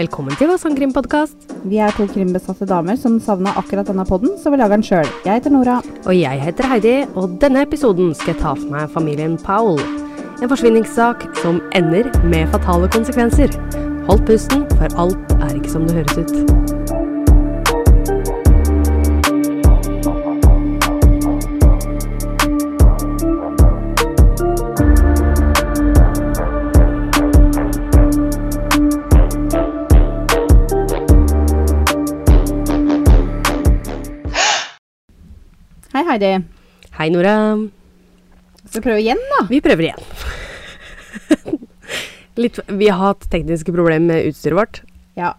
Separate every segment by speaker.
Speaker 1: Velkommen til vår sangkrimpodkast.
Speaker 2: Vi er to krimbesatte damer som savna akkurat denne podden, så vi lager den sjøl. Jeg heter Nora.
Speaker 1: Og jeg heter Heidi, og denne episoden skal jeg ta for meg familien Powell. En forsvinningssak som ender med fatale konsekvenser. Hold pusten, for alt er ikke som det høres ut.
Speaker 2: Hei, Heidi.
Speaker 1: Hei, Nora.
Speaker 2: Skal vi prøve igjen, da?
Speaker 1: Vi prøver igjen. Litt, vi har hatt tekniske problemer med utstyret vårt.
Speaker 2: Ja.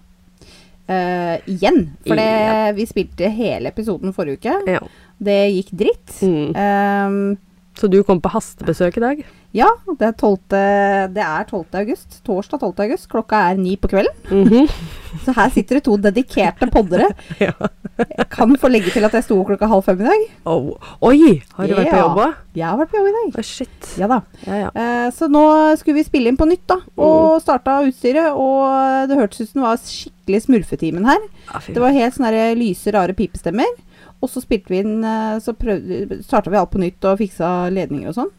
Speaker 2: Eh, igjen. For det,
Speaker 1: Ja.
Speaker 2: vi spilte hele episoden forrige
Speaker 1: Ja.
Speaker 2: uke. Det gikk dritt.
Speaker 1: Mm.
Speaker 2: Ehm,
Speaker 1: Så du kom på hastebesøk i dag?
Speaker 2: ja, det er, 12, det er 12. august. Torsdag 12. august. Klokka er ni på kvelden.
Speaker 1: Mhm.
Speaker 2: Så her sitter det to dedikerte poddere.
Speaker 1: ja.
Speaker 2: Jeg kan få legge til at jeg sto klokka halv fem i dag.
Speaker 1: Au. Oi! Har du vært på
Speaker 2: Ja.
Speaker 1: jobb òg?
Speaker 2: Jeg har vært på jobb i dag.
Speaker 1: Å, shit.
Speaker 2: Ja da.
Speaker 1: Ja, ja.
Speaker 2: Eh, Så nå skulle vi spille inn på nytt, da.
Speaker 1: Mm.
Speaker 2: Og starta utstyret. Og det hørtes ut som det var skikkelig smurfetimen her.
Speaker 1: Ja, fy
Speaker 2: Det var helt sånne der lyse, rare pipestemmer. Og så spilte vi inn eh, Så starta vi alt på nytt og fiksa ledninger og sånn.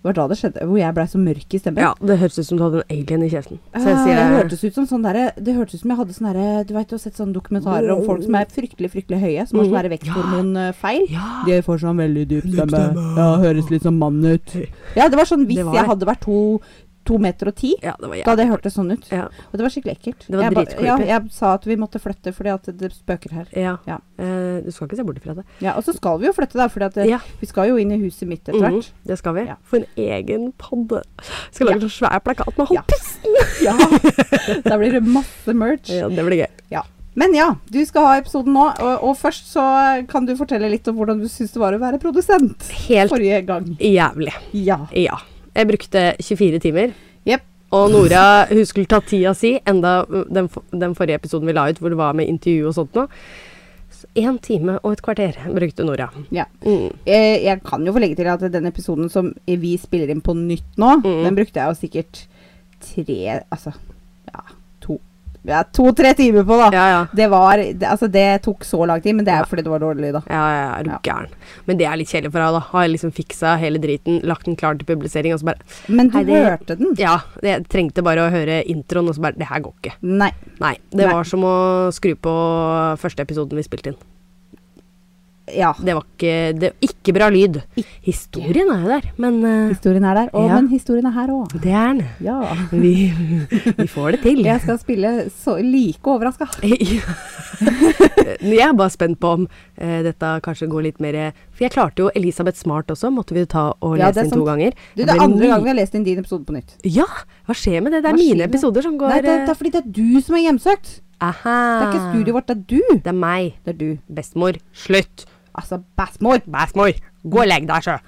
Speaker 2: Det var da det skjedde, hvor jeg blei så mørk i stemmen.
Speaker 1: Ja, det høres ut som du hadde en alien i kjeften. Så jeg
Speaker 2: Eh,
Speaker 1: sier
Speaker 2: det hørtes ut som sånn derre- Det hørtes ut som jeg hadde sånn derre Du veit, du har sett sånne dokumentarer om folk som er fryktelig fryktelig høye, som har sånn derre vekthormonfeil.
Speaker 1: Mm. Ja.
Speaker 2: De får sånn veldig dyp stemme.
Speaker 1: stemme.
Speaker 2: Ja, høres litt som mann ut. Ja, det var sånn hvis
Speaker 1: Det var-
Speaker 2: jeg hadde vært to, to meter og ti.
Speaker 1: ja, det var
Speaker 2: Da
Speaker 1: jeg.
Speaker 2: hadde jeg hørt det sånn ut.
Speaker 1: Ja.
Speaker 2: Og det var skikkelig ekkelt.
Speaker 1: Det var
Speaker 2: jeg, ba-
Speaker 1: dritcreepy.
Speaker 2: ja, jeg sa at vi måtte flytte fordi at det spøker her.
Speaker 1: Ja.
Speaker 2: Ja.
Speaker 1: Eh, du skal ikke se bort ifra det.
Speaker 2: Ja, Og så skal vi jo flytte, da, fordi at eh,
Speaker 1: Ja.
Speaker 2: vi skal jo inn i huset mitt etter hvert.
Speaker 1: Mhm, det skal vi.
Speaker 2: Ja.
Speaker 1: For en egen podde. Skal lage
Speaker 2: Ja.
Speaker 1: så svær plakat med
Speaker 2: Ja.
Speaker 1: hoppis!
Speaker 2: Ja, Da blir det masse merch.
Speaker 1: Mhm. Ja. det blir gøy.
Speaker 2: Men ja, du skal ha episoden nå. Og, og først så kan du fortelle litt om hvordan du syns det var å være produsent
Speaker 1: Helt
Speaker 2: forrige gang.
Speaker 1: jævlig.
Speaker 2: Ja.
Speaker 1: Ja. Jeg brukte 24 timer.
Speaker 2: Jepp.
Speaker 1: Og Nora hun skulle ta tida si, enda den, for- den forrige episoden vi la ut hvor det var med intervju og sånt nå. Så Én time og et kvarter brukte Nora.
Speaker 2: Ja.
Speaker 1: Mm.
Speaker 2: Eh, Jeg kan jo få legge til at den episoden som vi spiller inn på nytt nå,
Speaker 1: Mm.
Speaker 2: den brukte jeg jo sikkert tre Altså, ja, to ja, To-tre timer på, da.
Speaker 1: Ja, ja.
Speaker 2: Det var det, Altså, det tok så lang tid, men det er jo fordi det var dårlig, da.
Speaker 1: Ja, ja, ja, er du
Speaker 2: Ja.
Speaker 1: gæren. Men det er litt kjedelig for deg, da. Har jeg liksom fiksa hele driten, lagt den klar til publisering, og så bare
Speaker 2: Men du
Speaker 1: Nei, det-
Speaker 2: hørte den?
Speaker 1: Ja, jeg trengte bare å høre introen, og så bare Det her går ikke.
Speaker 2: Nei.
Speaker 1: Nei. Det
Speaker 2: Nei.
Speaker 1: var som å skru på første episoden vi spilte inn.
Speaker 2: Ja.
Speaker 1: Det var ikke det, Ikke bra lyd. Historien er jo der, men eh,
Speaker 2: Historien er der. Å,
Speaker 1: Ja.
Speaker 2: men historien er her òg.
Speaker 1: det er den.
Speaker 2: Ja.
Speaker 1: Vi, vi får det til.
Speaker 2: Jeg skal spille så like overraska.
Speaker 1: Jeg er bare spent på om eh, dette kanskje går litt mer eh, For jeg klarte jo Elisabeth Smart også, måtte vi jo ta og
Speaker 2: Ja,
Speaker 1: lese
Speaker 2: det er
Speaker 1: inn to
Speaker 2: sant.
Speaker 1: ganger.
Speaker 2: Du, det
Speaker 1: ble
Speaker 2: er andre
Speaker 1: mye-
Speaker 2: gangen vi har lest inn din episode på nytt.
Speaker 1: Ja, hva skjer med det? Det er
Speaker 2: Hva skjer
Speaker 1: mine
Speaker 2: med det?
Speaker 1: episoder som går eh, Ah.
Speaker 2: Nei, det, det er fordi det er du som er hjemsøkt.
Speaker 1: Aha.
Speaker 2: Det er ikke studioet vårt, det er du.
Speaker 1: Det er meg.
Speaker 2: Det er du.
Speaker 1: Bestemor. Slutt.
Speaker 2: Altså, bæsmor.
Speaker 1: Bestemor. Gå og legg deg, sjø.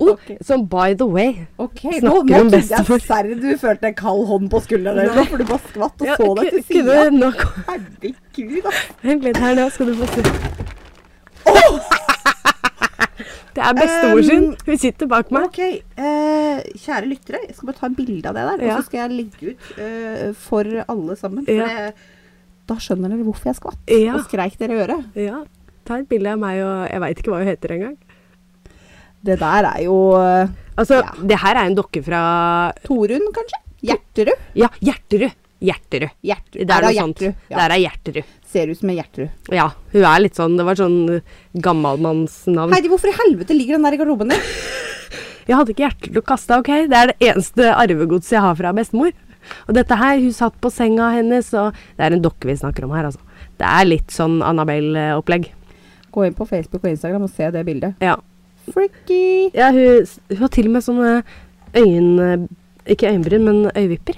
Speaker 1: oh,
Speaker 2: Ok.
Speaker 1: Som by the way
Speaker 2: Ok, nå,
Speaker 1: Snakker
Speaker 2: nå
Speaker 1: om
Speaker 2: trodde
Speaker 1: bestemor.
Speaker 2: jeg serr du følte en kald hånd på skulderen din,
Speaker 1: Nei.
Speaker 2: for du bare skvatt og
Speaker 1: Ja,
Speaker 2: så deg til
Speaker 1: ku-
Speaker 2: sida.
Speaker 1: kunne- nå kom-
Speaker 2: Herregud, ass.
Speaker 1: Vent litt her, nå skal du få se. Det er bestemor
Speaker 2: Um,
Speaker 1: sin. Hun sitter bak meg.
Speaker 2: Ok, eh, kjære lyttere, jeg skal bare ta et bilde av det der,
Speaker 1: Ja.
Speaker 2: og så skal jeg legge ut eh, for alle sammen. For
Speaker 1: Ja.
Speaker 2: det, da skjønner dere hvorfor jeg skvatt
Speaker 1: Ja.
Speaker 2: og skreik dere i øret.
Speaker 1: Ja. Ta et bilde av meg og Jeg veit ikke hva hun heter engang.
Speaker 2: Det der er jo eh,
Speaker 1: Altså,
Speaker 2: Ja.
Speaker 1: det her er en dokke fra
Speaker 2: Torunn, kanskje? Hjerterud?
Speaker 1: Ja, Hjerterud. Hjerterud.
Speaker 2: Hjerterud.
Speaker 1: Det er
Speaker 2: Der
Speaker 1: noe sånt.
Speaker 2: Hjerterud. Ja.
Speaker 1: Der er Hjerterud.
Speaker 2: Ser ut som en Hjerterud.
Speaker 1: Ja, hun er litt sånn Det var sånn gammalmannsnavn.
Speaker 2: Heidi, hvorfor i helvete ligger den der i garderoben din?
Speaker 1: Jeg hadde ikke hjerte til å kaste, ok? Det er det eneste arvegodset jeg har fra bestemor. Og dette her, hun satt på senga hennes, og det er en dokke vi snakker om her, altså. Det er litt sånn Annabelle-opplegg.
Speaker 2: Gå inn på Facebook og Instagram og se det bildet.
Speaker 1: Ja.
Speaker 2: Freaky!
Speaker 1: ja hun, hun har til og med sånne øyen... Ikke øyenbryn, men øyevipper.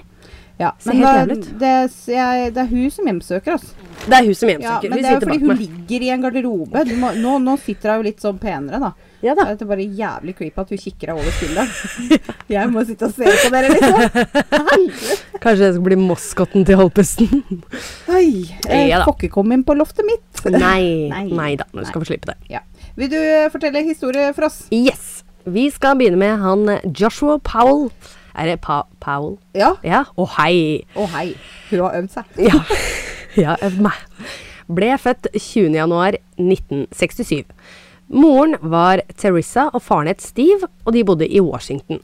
Speaker 2: Ja,
Speaker 1: Ser helt
Speaker 2: da-
Speaker 1: jævlig ut.
Speaker 2: Det, s- jeg, det er hun som hjemsøker, altså.
Speaker 1: Det er hun som
Speaker 2: Ja,
Speaker 1: hjemsøker. hun
Speaker 2: men det er jo
Speaker 1: sitter
Speaker 2: fordi
Speaker 1: bak
Speaker 2: hun
Speaker 1: meg.
Speaker 2: ligger i en garderobe. Du må, nå, nå sitter hun jo litt sånn penere, da.
Speaker 1: Ja
Speaker 2: Det
Speaker 1: da.
Speaker 2: er det bare jævlig creepy at hun kikker deg over skulderen. Jeg må sitte og se på dere, liksom. Helvete.
Speaker 1: Kanskje jeg skal bli maskotten til Holpesten?
Speaker 2: Oi. eh,
Speaker 1: Ja da.
Speaker 2: Får ikke komme inn på loftet mitt.
Speaker 1: Nei.
Speaker 2: Nei.
Speaker 1: Nei da. Du skal få slippe det.
Speaker 2: Ja. Vil du eh, fortelle historie for oss?
Speaker 1: Yes. Vi skal begynne med han Joshua Powell. Er det pa Powell?
Speaker 2: Ja.
Speaker 1: Ja. Og hei.
Speaker 2: Å, hei. Hun har øvd seg.
Speaker 1: Ja. ja øvd meg. Ble født 20. januar 1967. Moren var Teresa og faren het Steve, og de bodde i Washington.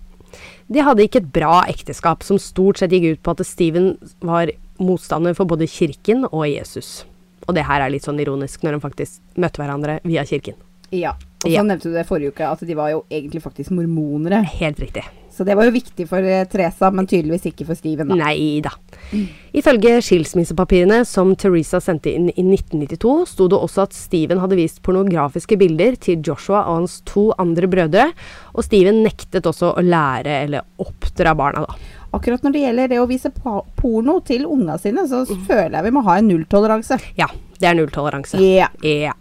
Speaker 1: De hadde ikke et bra ekteskap, som stort sett gikk ut på at Steven var motstander for både kirken og Jesus. Og det her er litt sånn ironisk, når de faktisk møtte hverandre via kirken.
Speaker 2: Ja. Og så
Speaker 1: Ja.
Speaker 2: nevnte du det forrige uke, at de var jo egentlig faktisk mormonere.
Speaker 1: Helt riktig.
Speaker 2: Så det var jo viktig for eh, Teresa, men tydeligvis ikke for Steven. Da.
Speaker 1: Nei da. Ifølge skilsmissepapirene som Teresa sendte inn i 1992, sto det også at Steven hadde vist pornografiske bilder til Joshua og hans to andre brødre, og Steven nektet også å lære eller oppdra barna, da.
Speaker 2: Akkurat når det gjelder det å vise pa- porno til unga sine, så s-
Speaker 1: Mm.
Speaker 2: føler jeg vi må ha en nulltoleranse.
Speaker 1: Ja, det er nulltoleranse.
Speaker 2: Ja.
Speaker 1: Ja.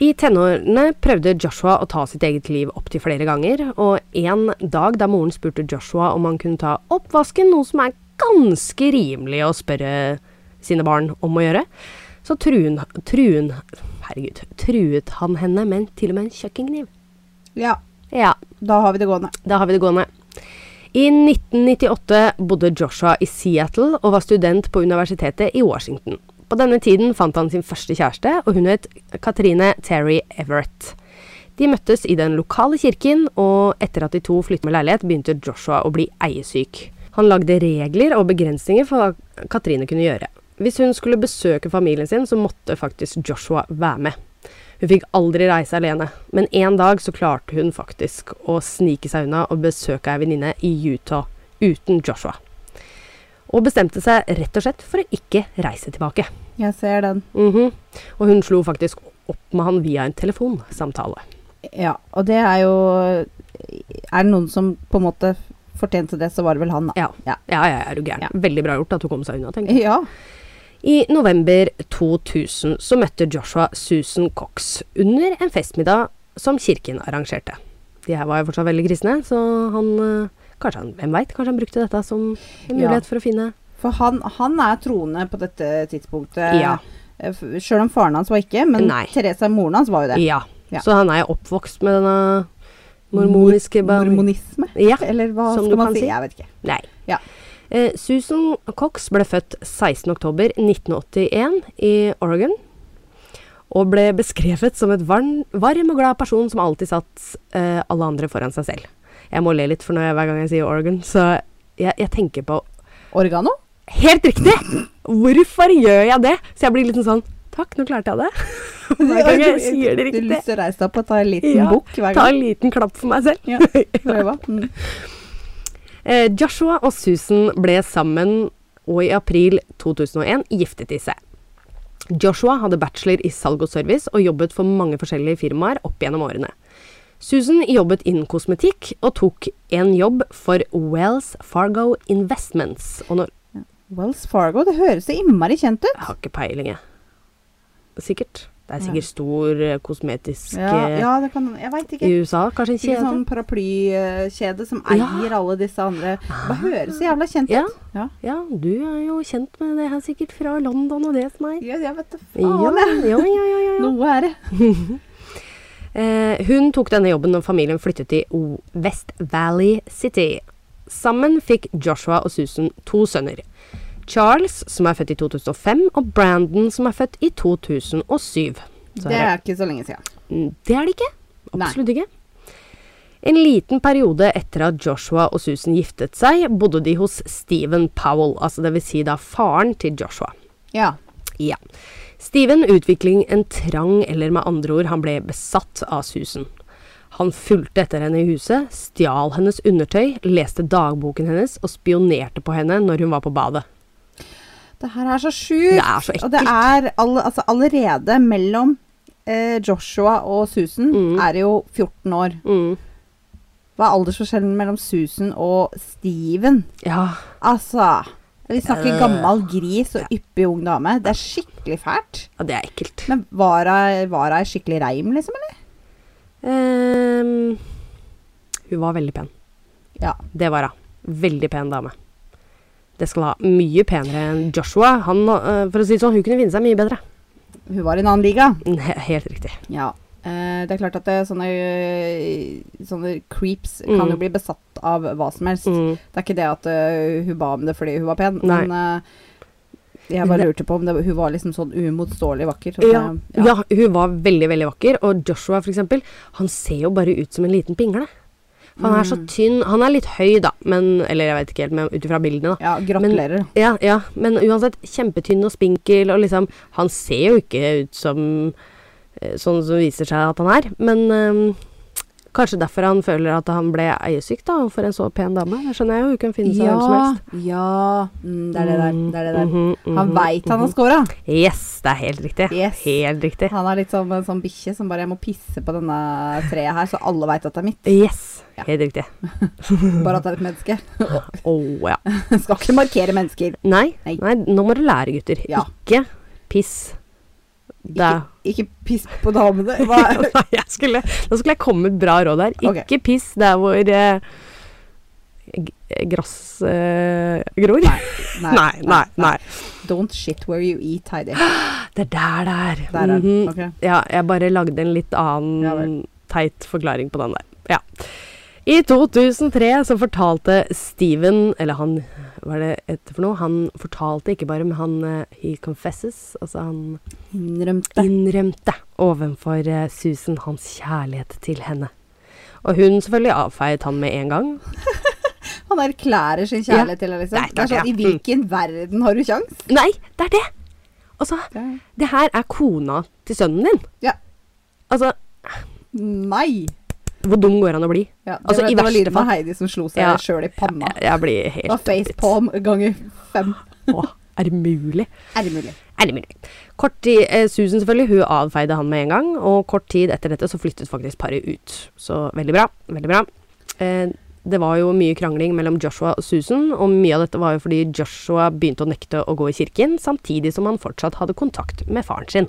Speaker 1: I tenårene prøvde Joshua å ta sitt eget liv opptil flere ganger, og en dag da moren spurte Joshua om han kunne ta oppvasken, noe som er ganske rimelig å spørre sine barn om å gjøre, så truen, truen, herregud, truet han henne med til og med en kjøkkenkniv.
Speaker 2: ja.
Speaker 1: Ja,
Speaker 2: Da har vi det gående.
Speaker 1: da har vi det gående. I 1998 bodde Joshua i Seattle og var student på universitetet i Washington. På denne tiden fant han sin første kjæreste, og hun het Katrine Terry Everett. De møttes i den lokale kirken, og etter at de to flyttet med leilighet, begynte Joshua å bli eiesyk. Han lagde regler og begrensninger for hva Katrine kunne gjøre. Hvis hun skulle besøke familien sin, så måtte faktisk Joshua være med. Hun fikk aldri reise alene, men en dag så klarte hun faktisk å snike seg unna og besøke ei venninne i Utah uten Joshua. Og bestemte seg rett og slett for å ikke reise tilbake.
Speaker 2: Jeg ser den.
Speaker 1: Mhm. Og hun slo faktisk opp med han via en telefonsamtale.
Speaker 2: Ja, og det er jo Er det noen som på en måte fortjente det, så var det vel han, da.
Speaker 1: Ja, ja, ja, ja er du gæren.
Speaker 2: Ja.
Speaker 1: Veldig bra gjort at hun kom seg unna, tenker jeg.
Speaker 2: Ja.
Speaker 1: I november 2000 så møtte Joshua Susan Cox under en festmiddag som kirken arrangerte. De her var jo fortsatt veldig kristne, så han eh, Kanskje han, hvem vet, kanskje han brukte dette som en
Speaker 2: Ja.
Speaker 1: mulighet for å finne
Speaker 2: For han, han er troende på dette tidspunktet.
Speaker 1: Ja.
Speaker 2: Sjøl om faren hans var ikke, men
Speaker 1: Nei.
Speaker 2: Teresa, moren hans, var jo det.
Speaker 1: Ja.
Speaker 2: Ja.
Speaker 1: Så han er jo oppvokst med denne mormoniske
Speaker 2: Mor-
Speaker 1: barn-
Speaker 2: Mormonisme?
Speaker 1: Ja,
Speaker 2: Eller hva
Speaker 1: som du
Speaker 2: skal man
Speaker 1: kan
Speaker 2: si?
Speaker 1: si.
Speaker 2: Jeg vet ikke.
Speaker 1: Nei.
Speaker 2: Ja.
Speaker 1: Eh, Susan Cox ble født 16.10.1981 i Oregon. Og ble beskrevet som et varm, varm og glad person som alltid satt eh, alle andre foran seg selv. Jeg må le litt for når jeg, hver gang jeg sier Oregon, så jeg, jeg tenker på
Speaker 2: Oregano?
Speaker 1: Helt riktig! Hvorfor gjør jeg det? Så jeg blir litt sånn Takk, nå klarte jeg det. Hver gang jeg sier det
Speaker 2: Du har
Speaker 1: riktig.
Speaker 2: lyst til å reise deg opp og ta en liten
Speaker 1: Ja,
Speaker 2: bukk hver
Speaker 1: Ta
Speaker 2: gang.
Speaker 1: en liten klapp for meg selv.
Speaker 2: Ja, prøve. Mm.
Speaker 1: Eh, Joshua og Susan ble sammen, og i april 2001 giftet de seg. Joshua hadde bachelor i salg og service og jobbet for mange forskjellige firmaer opp gjennom årene. Susan jobbet innen kosmetikk og tok en jobb for Wells Fargo Investments. Og når,
Speaker 2: Wells Fargo, det høres så innmari kjent ut.
Speaker 1: jeg har ikke peiling, jeg. Sikkert. Det er sikkert stor eh, kosmetisk
Speaker 2: Ja,
Speaker 1: eh,
Speaker 2: ja det kan Jeg veit ikke.
Speaker 1: i USA, kanskje en
Speaker 2: Ikke
Speaker 1: kjede?
Speaker 2: sånn paraplykjede som
Speaker 1: Ja. Ah.
Speaker 2: eier alle disse andre. Det høres så jævla kjent
Speaker 1: Ja.
Speaker 2: ut. Ja.
Speaker 1: Ja, du er jo kjent med det her sikkert fra London og det som er.
Speaker 2: ja, jeg vet da
Speaker 1: Ja,
Speaker 2: faen. jeg.
Speaker 1: ja, ja, ja, ja.
Speaker 2: Noe er det.
Speaker 1: Eh, hun tok denne jobben når familien flyttet til O- West Valley City. Sammen fikk Joshua og Susan to sønner. Charles, som er født i 2005, og Brandon, som er født i 2007. Så
Speaker 2: Det er ikke så lenge siden.
Speaker 1: Mm, Det er det ikke.
Speaker 2: Nei.
Speaker 1: Absolutt ikke. En liten periode etter at Joshua og Susan giftet seg, bodde de hos Stephen Powell, altså det vil si da faren til Joshua.
Speaker 2: Ja.
Speaker 1: Ja. Steven utvikling en trang, eller med andre ord, han ble besatt av Susan. Han fulgte etter henne i huset, stjal hennes undertøy, leste dagboken hennes og spionerte på henne når hun var på badet.
Speaker 2: Det her er så
Speaker 1: Det
Speaker 2: sjukt.
Speaker 1: er så
Speaker 2: Og det
Speaker 1: ekkelt.
Speaker 2: er alle, altså allerede mellom eh, Joshua og Susan er det jo 14 år.
Speaker 1: Mm.
Speaker 2: Hva er aldersforskjellen mellom Susan og Steven?
Speaker 1: Ja.
Speaker 2: Altså Vi snakker
Speaker 1: Øh.
Speaker 2: gammel gris og yppig ung dame. Det er skikkelig fælt.
Speaker 1: ja, det er ekkelt.
Speaker 2: Men var hun var hun skikkelig reim, liksom, eller?
Speaker 1: Ehm, hun var veldig pen.
Speaker 2: Ja.
Speaker 1: Det var hun. Veldig pen dame. Det skal ha mye penere enn Joshua. Han, eh, for å si det sånn, hun kunne finne seg mye bedre.
Speaker 2: Hun var i en annen liga.
Speaker 1: Helt riktig.
Speaker 2: Ja. Eh, Eh, det er klart at det, sånne, eh, sånne creeps kan
Speaker 1: Mm.
Speaker 2: jo bli besatt av hva som helst.
Speaker 1: Mm.
Speaker 2: Det er ikke det at eh, hun ba om det fordi hun var pen,
Speaker 1: Nei.
Speaker 2: men eh, jeg bare lurte på om det, hun var liksom sånn uimotståelig vakker. sånn
Speaker 1: Ja,
Speaker 2: at jeg-
Speaker 1: ja, hun var veldig, veldig vakker. Og Joshua, for eksempel, han ser jo bare ut som en liten pingle. For han
Speaker 2: Mm.
Speaker 1: er så tynn. Han er litt høy, da, men Eller jeg vet ikke helt, men ut ifra bildene, da.
Speaker 2: ja, gratulerer.
Speaker 1: Ja, ja, men uansett, kjempetynn og spinkel, og liksom Han ser jo ikke ut som eh, sånn som viser seg at han er, men eh, Kanskje derfor han føler at han ble eiesyk da, for en så pen dame. Det skjønner jeg jo, hun kan finne seg hvem som helst.
Speaker 2: ja mm, Det er det der. Det er det der.
Speaker 1: Mhm, mhm,
Speaker 2: Han veit han har
Speaker 1: mhm.
Speaker 2: scora!
Speaker 1: Yes, det er helt riktig.
Speaker 2: Yes.
Speaker 1: Helt riktig.
Speaker 2: Han er litt som en sånn bikkje som bare 'Jeg må pisse på denne treet her, så alle veit at det er mitt'.
Speaker 1: Yes,
Speaker 2: Ja.
Speaker 1: helt riktig.
Speaker 2: Bare at det er et menneske.
Speaker 1: Åh, ja.
Speaker 2: Skal ikke markere mennesker.
Speaker 1: Nei,
Speaker 2: Nei.
Speaker 1: nei. nå må du lære, gutter.
Speaker 2: Ja.
Speaker 1: Ikke piss. Da.
Speaker 2: Ikke, ikke piss på damene. Hva?
Speaker 1: Nei, jeg skulle, nå skulle jeg komme med et bra råd her.
Speaker 2: Ok.
Speaker 1: Ikke piss der hvor eh, g- grass eh, gror. Nei. Nei, nei,
Speaker 2: Don't shit where you eat, Heidi.
Speaker 1: Det er der det er.
Speaker 2: Der er den.
Speaker 1: Mhm.
Speaker 2: Ok.
Speaker 1: Ja, jeg bare lagde en litt annen
Speaker 2: Ja vel.
Speaker 1: teit forklaring på den der. Ja. I 2003 så fortalte Steven, eller han, hva er det etter for noe? Han fortalte ikke bare, men han, eh, he confesses, altså han
Speaker 2: Innrømte.
Speaker 1: innrømte ovenfor eh, Susan hans kjærlighet til henne. Og hun selvfølgelig avfeiet han med en gang.
Speaker 2: Han erklærer sin kjærlighet til deg, liksom.
Speaker 1: Nei,
Speaker 2: Det er sånn,
Speaker 1: ja.
Speaker 2: I hvilken verden har du kjangs?
Speaker 1: Nei, det er det! Altså, det her er kona til sønnen din.
Speaker 2: Ja.
Speaker 1: Altså,
Speaker 2: Nei!
Speaker 1: hvor dum går han å bli?
Speaker 2: Ja, det,
Speaker 1: Altså,
Speaker 2: var,
Speaker 1: i
Speaker 2: det var
Speaker 1: verste
Speaker 2: lyden av
Speaker 1: fall-
Speaker 2: Heidi som slo seg
Speaker 1: Ja.
Speaker 2: sjøl i panna.
Speaker 1: Jeg, jeg blir
Speaker 2: Det var
Speaker 1: helt
Speaker 2: facepalm ganger fem.
Speaker 1: Å, er det mulig?
Speaker 2: Er det mulig?
Speaker 1: Er det mulig? Kort tid, eh, Susan selvfølgelig, hun avfeide han med en gang, og kort tid etter dette så flyttet faktisk paret ut. Så veldig bra, veldig bra. Eh, det var jo mye krangling mellom Joshua og Susan, og mye av dette var jo fordi Joshua begynte å nekte å gå i kirken, samtidig som han fortsatt hadde kontakt med faren sin.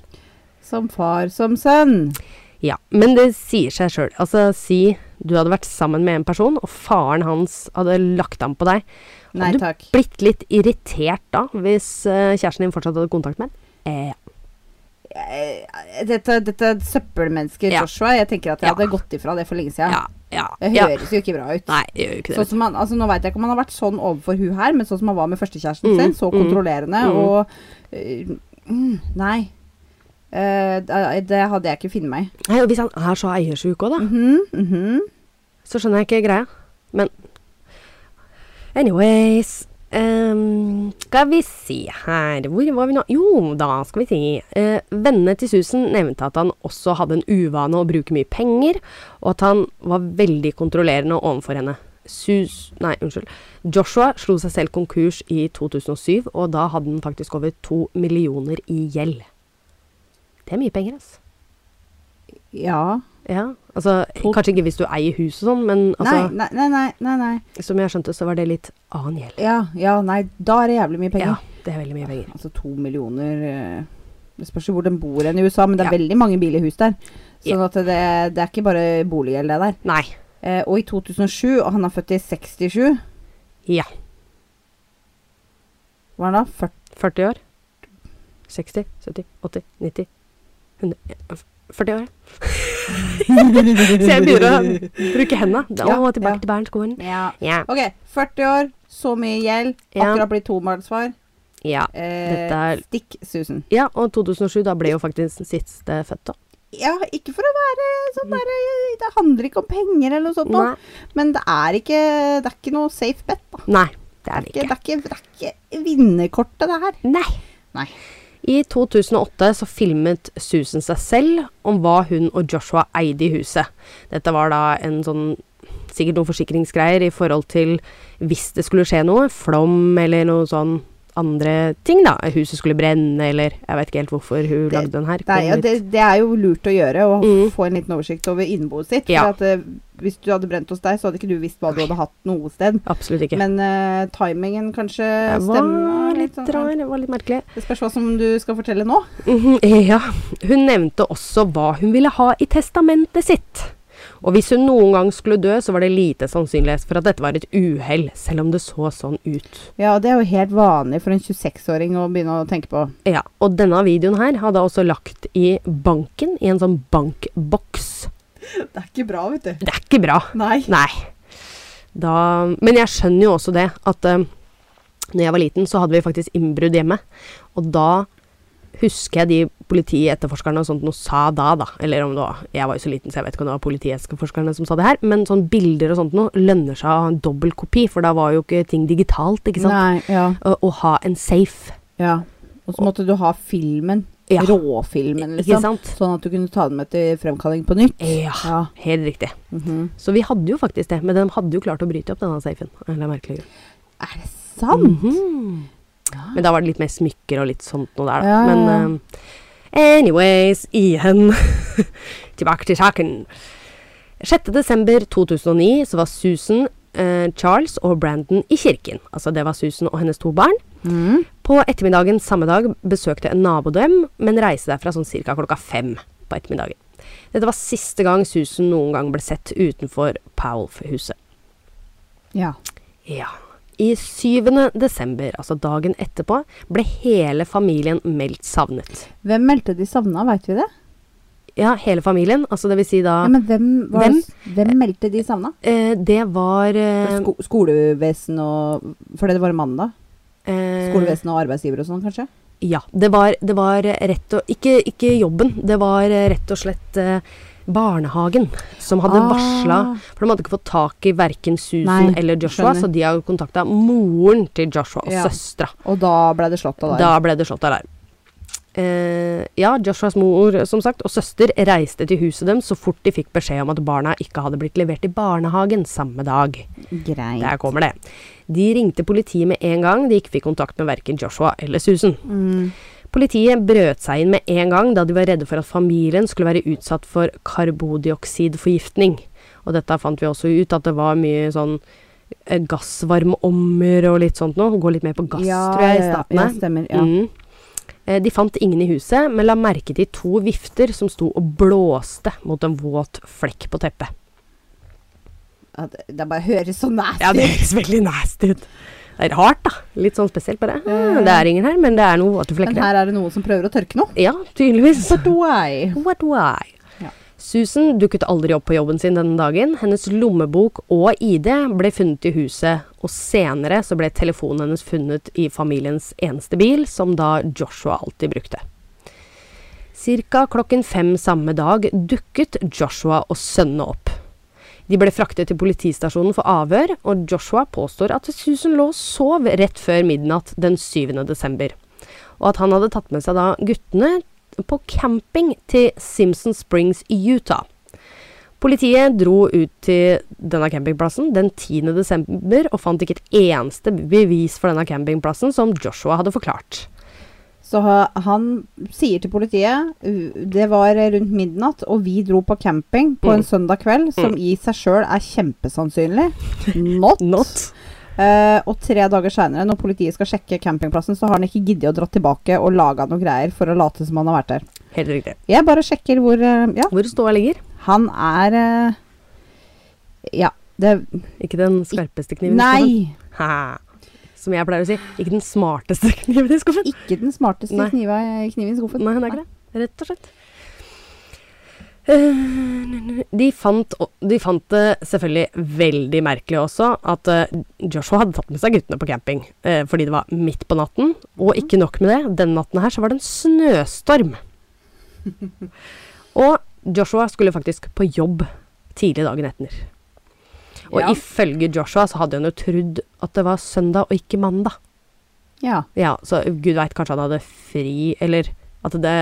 Speaker 2: Som far, som sønn.
Speaker 1: Ja, men det sier seg sjøl. Altså, si du hadde vært sammen med en person, og faren hans hadde lagt an på deg.
Speaker 2: Nei
Speaker 1: Hadde du
Speaker 2: takk.
Speaker 1: blitt litt irritert da, hvis eh, kjæresten din fortsatt hadde kontakt med den? Eh,
Speaker 2: Eh, Dette, dette søppelmennesket
Speaker 1: Ja.
Speaker 2: Joshua, jeg tenker at jeg
Speaker 1: Ja.
Speaker 2: hadde gått ifra det for lenge siden.
Speaker 1: ja, ja,
Speaker 2: Det
Speaker 1: ja.
Speaker 2: høres jo ikke bra ut.
Speaker 1: Nei, jeg gjør jo ikke det.
Speaker 2: Sånn som han, altså nå vet jeg ikke om han har vært sånn overfor hun her, men sånn som han var med førstekjæresten sin,
Speaker 1: Mm,
Speaker 2: så
Speaker 1: mm,
Speaker 2: kontrollerende
Speaker 1: mm.
Speaker 2: og eh, mm, Nei. Eh, det- det hadde jeg ikke funnet meg i.
Speaker 1: Nei, og Hvis han er så eiersjuk òg, da,
Speaker 2: Mhm, mhm.
Speaker 1: så skjønner jeg ikke greia. Men anyways ehm, Skal vi se her Hvor var vi nå? Jo da, skal vi si. Uh, Vennene til Susan nevnte at han også hadde en uvane å bruke mye penger, og at han var veldig kontrollerende overfor henne. Sus... Nei, unnskyld. Joshua slo seg selv konkurs i 2007, og da hadde han faktisk over to millioner i gjeld. Det er mye penger, altså.
Speaker 2: Ja.
Speaker 1: Ja, altså Kanskje ikke hvis du eier hus og sånn, men altså,
Speaker 2: nei, nei, nei, nei, nei.
Speaker 1: som jeg skjønte, så var det litt annen gjeld.
Speaker 2: Ja, ja, nei, da er det jævlig
Speaker 1: Ja,
Speaker 2: mye penger.
Speaker 1: det er veldig mye penger.
Speaker 2: Altså to millioner eh, Det spørs jo hvor den bor hen i USA, men det er
Speaker 1: Ja.
Speaker 2: veldig mange biler i hus der. Sånn at det, det er ikke bare boliggjeld, det der.
Speaker 1: Nei.
Speaker 2: Eh, og i 2007, og han er født i 67,
Speaker 1: Ja.
Speaker 2: var han da 40
Speaker 1: 40 år. 60, 70, 80, 90, 100 ja, 40 år. Så jeg begynner å bruke hendene. Da,
Speaker 2: Ja,
Speaker 1: å, tilbake
Speaker 2: ja.
Speaker 1: til Berntskolen.
Speaker 2: Ja.
Speaker 1: Ja,
Speaker 2: Ok, 40 år, så mye gjeld,
Speaker 1: Ja.
Speaker 2: akkurat blitt tobarnsfar.
Speaker 1: ja.
Speaker 2: Eh,
Speaker 1: Dette er-
Speaker 2: Stikk Susan.
Speaker 1: Ja, og 2007, da ble jo faktisk den siste født, da.
Speaker 2: Ja, ikke for å være sånn der eh, Det handler ikke om penger eller noe sånt, nå,
Speaker 1: Nei.
Speaker 2: men det er ikke Det er ikke noe safe bet, da.
Speaker 1: Nei, det er det
Speaker 2: Det
Speaker 1: ikke.
Speaker 2: er ikke, det er ikke, det er ikke vinnerkortet, det her.
Speaker 1: Nei.
Speaker 2: Nei.
Speaker 1: I 2008 så filmet Susan seg selv om hva hun og Joshua eide i huset. Dette var da en sånn Sikkert noen forsikringsgreier i forhold til hvis det skulle skje noe. Flom eller noe sånn andre ting, da. Huset skulle brenne eller Jeg vet ikke helt hvorfor hun lagde den her.
Speaker 2: Det er, jo-
Speaker 1: Kom
Speaker 2: det,
Speaker 1: litt-
Speaker 2: det er jo lurt å gjøre, å
Speaker 1: Mm.
Speaker 2: få en liten oversikt over innboet sitt.
Speaker 1: Ja.
Speaker 2: For at, eh, hvis du hadde brent hos deg, så hadde ikke du visst hva du hadde hatt noe sted.
Speaker 1: Absolutt ikke.
Speaker 2: Men eh, timingen kanskje
Speaker 1: det
Speaker 2: stemmer
Speaker 1: var litt
Speaker 2: sånn.
Speaker 1: rar, det var litt merkelig.
Speaker 2: Det spørs hva som du skal fortelle nå.
Speaker 1: Mhm, ja. Hun nevnte også hva hun ville ha i testamentet sitt. Og hvis hun noen gang skulle dø, så var det lite sannsynlighet for at dette var et uhell, selv om det så sånn ut.
Speaker 2: Ja, og det er jo helt vanlig for en 26-åring å begynne å tenke på.
Speaker 1: Ja, og denne videoen her hadde jeg også lagt i banken, i en sånn bankboks.
Speaker 2: Det er ikke bra, vet du.
Speaker 1: Det er ikke bra.
Speaker 2: Nei.
Speaker 1: Nei. Da, men jeg skjønner jo også det at eh, når jeg var liten, så hadde vi faktisk innbrudd hjemme. Og da husker jeg de politietterforskerne og sånt noe sa da, da. Eller om det var Jeg var jo så liten, så jeg vet ikke om det var politietterforskerne som sa det her. Men sånn bilder og sånt noe lønner seg å ha en dobbel kopi, for da var jo ikke ting digitalt, ikke sant.
Speaker 2: Nei, ja.
Speaker 1: Å, å ha en safe.
Speaker 2: ja. Og så måtte du ha filmen.
Speaker 1: Ja.
Speaker 2: Råfilmen,
Speaker 1: Ikke
Speaker 2: liksom.
Speaker 1: sant?
Speaker 2: Sånn at du kunne ta den med til fremkalling på nytt.
Speaker 1: Ja.
Speaker 2: Ja.
Speaker 1: Helt riktig.
Speaker 2: Mhm.
Speaker 1: Så vi hadde jo faktisk det, men de hadde jo klart å bryte opp denne safen. av en Eller merkelig grunn.
Speaker 2: Er det sant?
Speaker 1: Mm. Men da var det litt mer smykker og litt sånt noe der, da.
Speaker 2: Ja, ja, ja.
Speaker 1: Men eh, anyways, igjen tilbake til saken. 6. desember 2009 så var Susan, eh, Charles og Brandon i kirken. Altså det var Susan og hennes to barn.
Speaker 2: Mhm.
Speaker 1: På ettermiddagen samme dag besøkte en nabo dem, men reiste derfra sånn ca. klokka fem på ettermiddagen. Dette var siste gang Susan noen gang ble sett utenfor Powell-huset.
Speaker 2: Ja.
Speaker 1: Ja. I 7. desember, altså dagen etterpå, ble hele familien meldt savnet.
Speaker 2: Hvem meldte de savna, veit vi det?
Speaker 1: Ja, hele familien. Altså det vil si da
Speaker 2: Ja, men hvem, var
Speaker 1: Hvem?
Speaker 2: Det, hvem meldte de savna?
Speaker 1: eh, Det var eh,
Speaker 2: Sko skolevesen og Fordi det var mandag?
Speaker 1: eh,
Speaker 2: Skolevesen og arbeidsgiver og sånn, kanskje?
Speaker 1: Ja. Det var, det var rett og Ikke, ikke jobben, det var eh, rett og slett eh, barnehagen som hadde
Speaker 2: Ah.
Speaker 1: varsla For de hadde ikke fått tak i verken Susan
Speaker 2: Nei,
Speaker 1: eller Joshua,
Speaker 2: skjønner.
Speaker 1: så de har jo kontakta moren til Joshua og
Speaker 2: Ja.
Speaker 1: søstera.
Speaker 2: Og da ble det slått av
Speaker 1: Da
Speaker 2: der.
Speaker 1: ble det slått alarm. Eh, ja, Joshuas mor som sagt, og søster reiste til huset dem så fort de fikk beskjed om at barna ikke hadde blitt levert i barnehagen samme dag.
Speaker 2: Greit.
Speaker 1: Der kommer det. De ringte politiet med en gang de ikke fikk kontakt med verken Joshua eller Susan.
Speaker 2: Mm.
Speaker 1: Politiet brøt seg inn med en gang da de var redde for at familien skulle være utsatt for karbodioksidforgiftning. Og dette fant vi også ut at det var mye sånn eh, gassvarmeommer og litt sånt noe. Går litt mer på gass, tror jeg, i
Speaker 2: Ja,
Speaker 1: statene.
Speaker 2: ja, stemmer. Ja.
Speaker 1: Mm. Eh, De fant ingen i huset, men la merke til to vifter som sto og blåste mot en våt flekk på teppet.
Speaker 2: Ja, det, det bare høres så nasty
Speaker 1: Ja, det høres veldig nasty ut. Det er rart, da. Litt sånn spesielt, bare.
Speaker 2: Ja.
Speaker 1: Ah, det er ingen her, men det er noen våte
Speaker 2: Men
Speaker 1: flekker her.
Speaker 2: her er det noen som prøver å tørke noe.
Speaker 1: Ja, tydeligvis.
Speaker 2: But why?
Speaker 1: What why?
Speaker 2: Ja.
Speaker 1: Susan dukket aldri opp på jobben sin denne dagen. Hennes lommebok og ID ble funnet i huset, og senere så ble telefonen hennes funnet i familiens eneste bil, som da Joshua alltid brukte. Cirka klokken fem samme dag dukket Joshua og sønnene opp. De ble fraktet til politistasjonen for avhør, og Joshua påstår at Susan lå og sov rett før midnatt den 7. desember, og at han hadde tatt med seg da guttene på camping til Simpson Springs i Utah. Politiet dro ut til denne campingplassen den 10. desember og fant ikke et eneste bevis for denne campingplassen som Joshua hadde forklart.
Speaker 2: Så ha- han sier til politiet "U- Det var rundt midnatt, og vi dro på camping på en
Speaker 1: Mm.
Speaker 2: søndag kveld, som
Speaker 1: Mm.
Speaker 2: i seg sjøl er kjempesannsynlig. Not.
Speaker 1: Not.
Speaker 2: Eh, og tre dager seinere, når politiet skal sjekke campingplassen, så har han ikke giddet å dra tilbake og laga noe greier for å late som han har vært der.
Speaker 1: Helt riktig.
Speaker 2: Jeg bare sjekker hvor eh, Ja,
Speaker 1: Hvor ståa ligger.
Speaker 2: han er eh, Ja, det
Speaker 1: Ikke den skarpeste kniven i skuffen.
Speaker 2: Nei!
Speaker 1: Ha. Som jeg pleier å si, ikke den smarteste kniven i skuffen.
Speaker 2: Ikke den smarteste
Speaker 1: Nei.
Speaker 2: kniva, eh, kniven i skuffen.
Speaker 1: Nei, det er ikke det. Rett og slett. Eh, De fant, de fant det selvfølgelig veldig merkelig også at eh, Joshua hadde tatt med seg guttene på camping eh, fordi det var midt på natten. Og ikke nok med det, denne natten her så var det en snøstorm. Og Joshua skulle faktisk på jobb tidlig dagen etter. Og
Speaker 2: Ja.
Speaker 1: ifølge Joshua så hadde han jo trodd at det var søndag og ikke mandag.
Speaker 2: Ja.
Speaker 1: Ja, så gud veit, kanskje han hadde fri, eller at det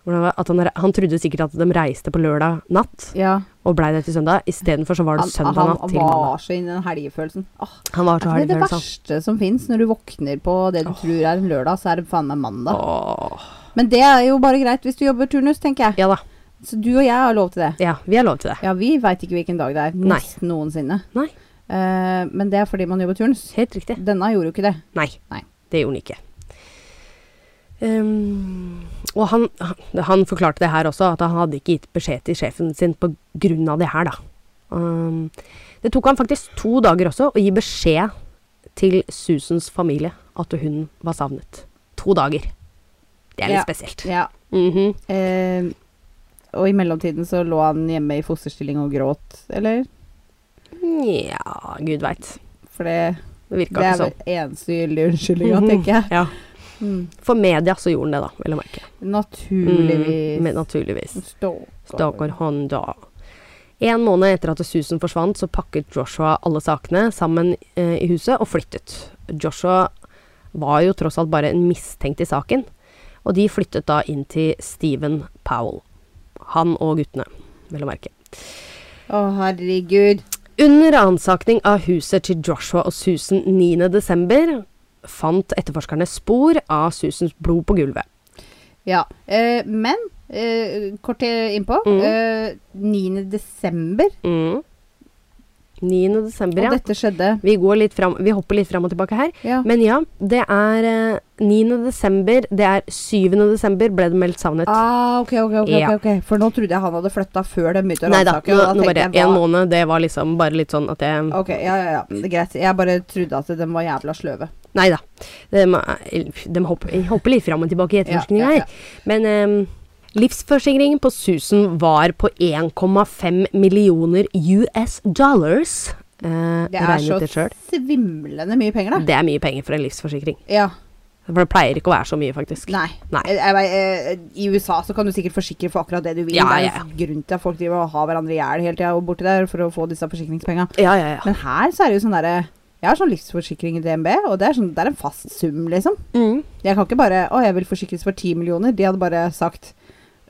Speaker 1: hvordan var, at han, re- han trodde sikkert at de reiste på lørdag natt,
Speaker 2: ja.
Speaker 1: og blei det til søndag. Istedenfor så var det
Speaker 2: han,
Speaker 1: søndag natt
Speaker 2: han
Speaker 1: til mandag.
Speaker 2: var så inne i den helgefølelsen. Åh,
Speaker 1: Han var så
Speaker 2: er ikke
Speaker 1: hard
Speaker 2: det
Speaker 1: i
Speaker 2: det
Speaker 1: følelsen.
Speaker 2: verste som fins? Når du våkner på det du tror er en lørdag, så er det faen meg mandag.
Speaker 1: Åh.
Speaker 2: Men det er jo bare greit hvis du jobber turnus, tenker jeg.
Speaker 1: Ja da.
Speaker 2: Så du og jeg har lov til det.
Speaker 1: Ja, vi har lov til det.
Speaker 2: Ja, vi veit ikke hvilken dag det er.
Speaker 1: Nei.
Speaker 2: Nesten noensinne.
Speaker 1: Nei.
Speaker 2: Eh, men det er fordi man jobber turnus.
Speaker 1: Helt riktig.
Speaker 2: Denne gjorde jo ikke det.
Speaker 1: Nei.
Speaker 2: Nei.
Speaker 1: Det gjorde han ikke. Ehm, og han, han- han forklarte det her også, at han hadde ikke gitt beskjed til sjefen sin på grunn av det her, da. Ehm, det tok han faktisk to dager også å gi beskjed til Susans familie at hun var savnet. To dager. Det er litt
Speaker 2: Ja.
Speaker 1: spesielt.
Speaker 2: Ja.
Speaker 1: Mhm.
Speaker 2: Eh, og i mellomtiden så lå han hjemme i fosterstilling og gråt, eller?
Speaker 1: Nja, gud veit.
Speaker 2: For det,
Speaker 1: Det virka
Speaker 2: det er
Speaker 1: ikke sånn.
Speaker 2: vel eneste gyldige unnskyldninga, tenker jeg.
Speaker 1: Ja.
Speaker 2: Mm.
Speaker 1: For media så gjorde han det, da, vil jeg merke.
Speaker 2: Naturligvis.
Speaker 1: Mm, men naturligvis.
Speaker 2: Stakkar.
Speaker 1: Stakkar han da. En måned etter at Susan forsvant, så pakket Joshua alle sakene sammen eh, i huset og flyttet. Joshua var jo tross alt bare en mistenkt i saken, og de flyttet da inn til Stephen Powell. Han og guttene, vel å merke.
Speaker 2: Å, herregud.
Speaker 1: Under ransakning av huset til Joshua og Susan 9. desember fant etterforskerne spor av Susans blod på gulvet.
Speaker 2: Ja. Eh, men eh, kort til innpå.
Speaker 1: Mm.
Speaker 2: Eh, 9. desember,
Speaker 1: Mm. 9. desember,
Speaker 2: og
Speaker 1: ja.
Speaker 2: dette skjedde.
Speaker 1: Vi, går litt fram, vi hopper litt fram og tilbake her.
Speaker 2: Ja.
Speaker 1: Men ja, det er eh, 9. desember, det er 7. desember ble det meldt savnet.
Speaker 2: Ah, ok, ok, ok,
Speaker 1: Ja.
Speaker 2: ok, ok. For nå trodde jeg han hadde flytta før de begynte å
Speaker 1: Nei da,
Speaker 2: ransake.
Speaker 1: nå,
Speaker 2: og
Speaker 1: nå
Speaker 2: da tenkte
Speaker 1: bare
Speaker 2: jeg,
Speaker 1: en
Speaker 2: hva-
Speaker 1: måned, det var liksom bare litt sånn at jeg
Speaker 2: Ok, ja, ja, ja. Det er greit. Jeg bare trodde at de var jævla sløve.
Speaker 1: Nei da. De, de eh, hopper, hopper litt fram og tilbake i etterforskninga
Speaker 2: Ja, ja, ja.
Speaker 1: her. Men ehm, livsforsikringen på Susan var på 1,5 millioner US dollars. Eh,
Speaker 2: Det er så
Speaker 1: regnet det sjøl.
Speaker 2: svimlende mye penger, da.
Speaker 1: Det er mye penger for en livsforsikring.
Speaker 2: Ja.
Speaker 1: For det pleier ikke å være så mye, faktisk.
Speaker 2: Nei.
Speaker 1: Mm. Nei.
Speaker 2: Jeg, jeg, vet, eh, I USA så kan du sikkert forsikre for akkurat det du vil.
Speaker 1: Ja,
Speaker 2: det er
Speaker 1: ja,
Speaker 2: jo grunn til at folk driver og har hverandre i hjel hele tida og borti der for å få disse forsikringspengene.
Speaker 1: Ja, ja, ja.
Speaker 2: Men her så er det jo sånn derre Jeg har sånn livsforsikring i DNB, og det er, sånn, det er en fast sum, liksom.
Speaker 1: Mm.
Speaker 2: Jeg kan ikke bare Å, jeg vil forsikres for 10 millioner. De hadde bare sagt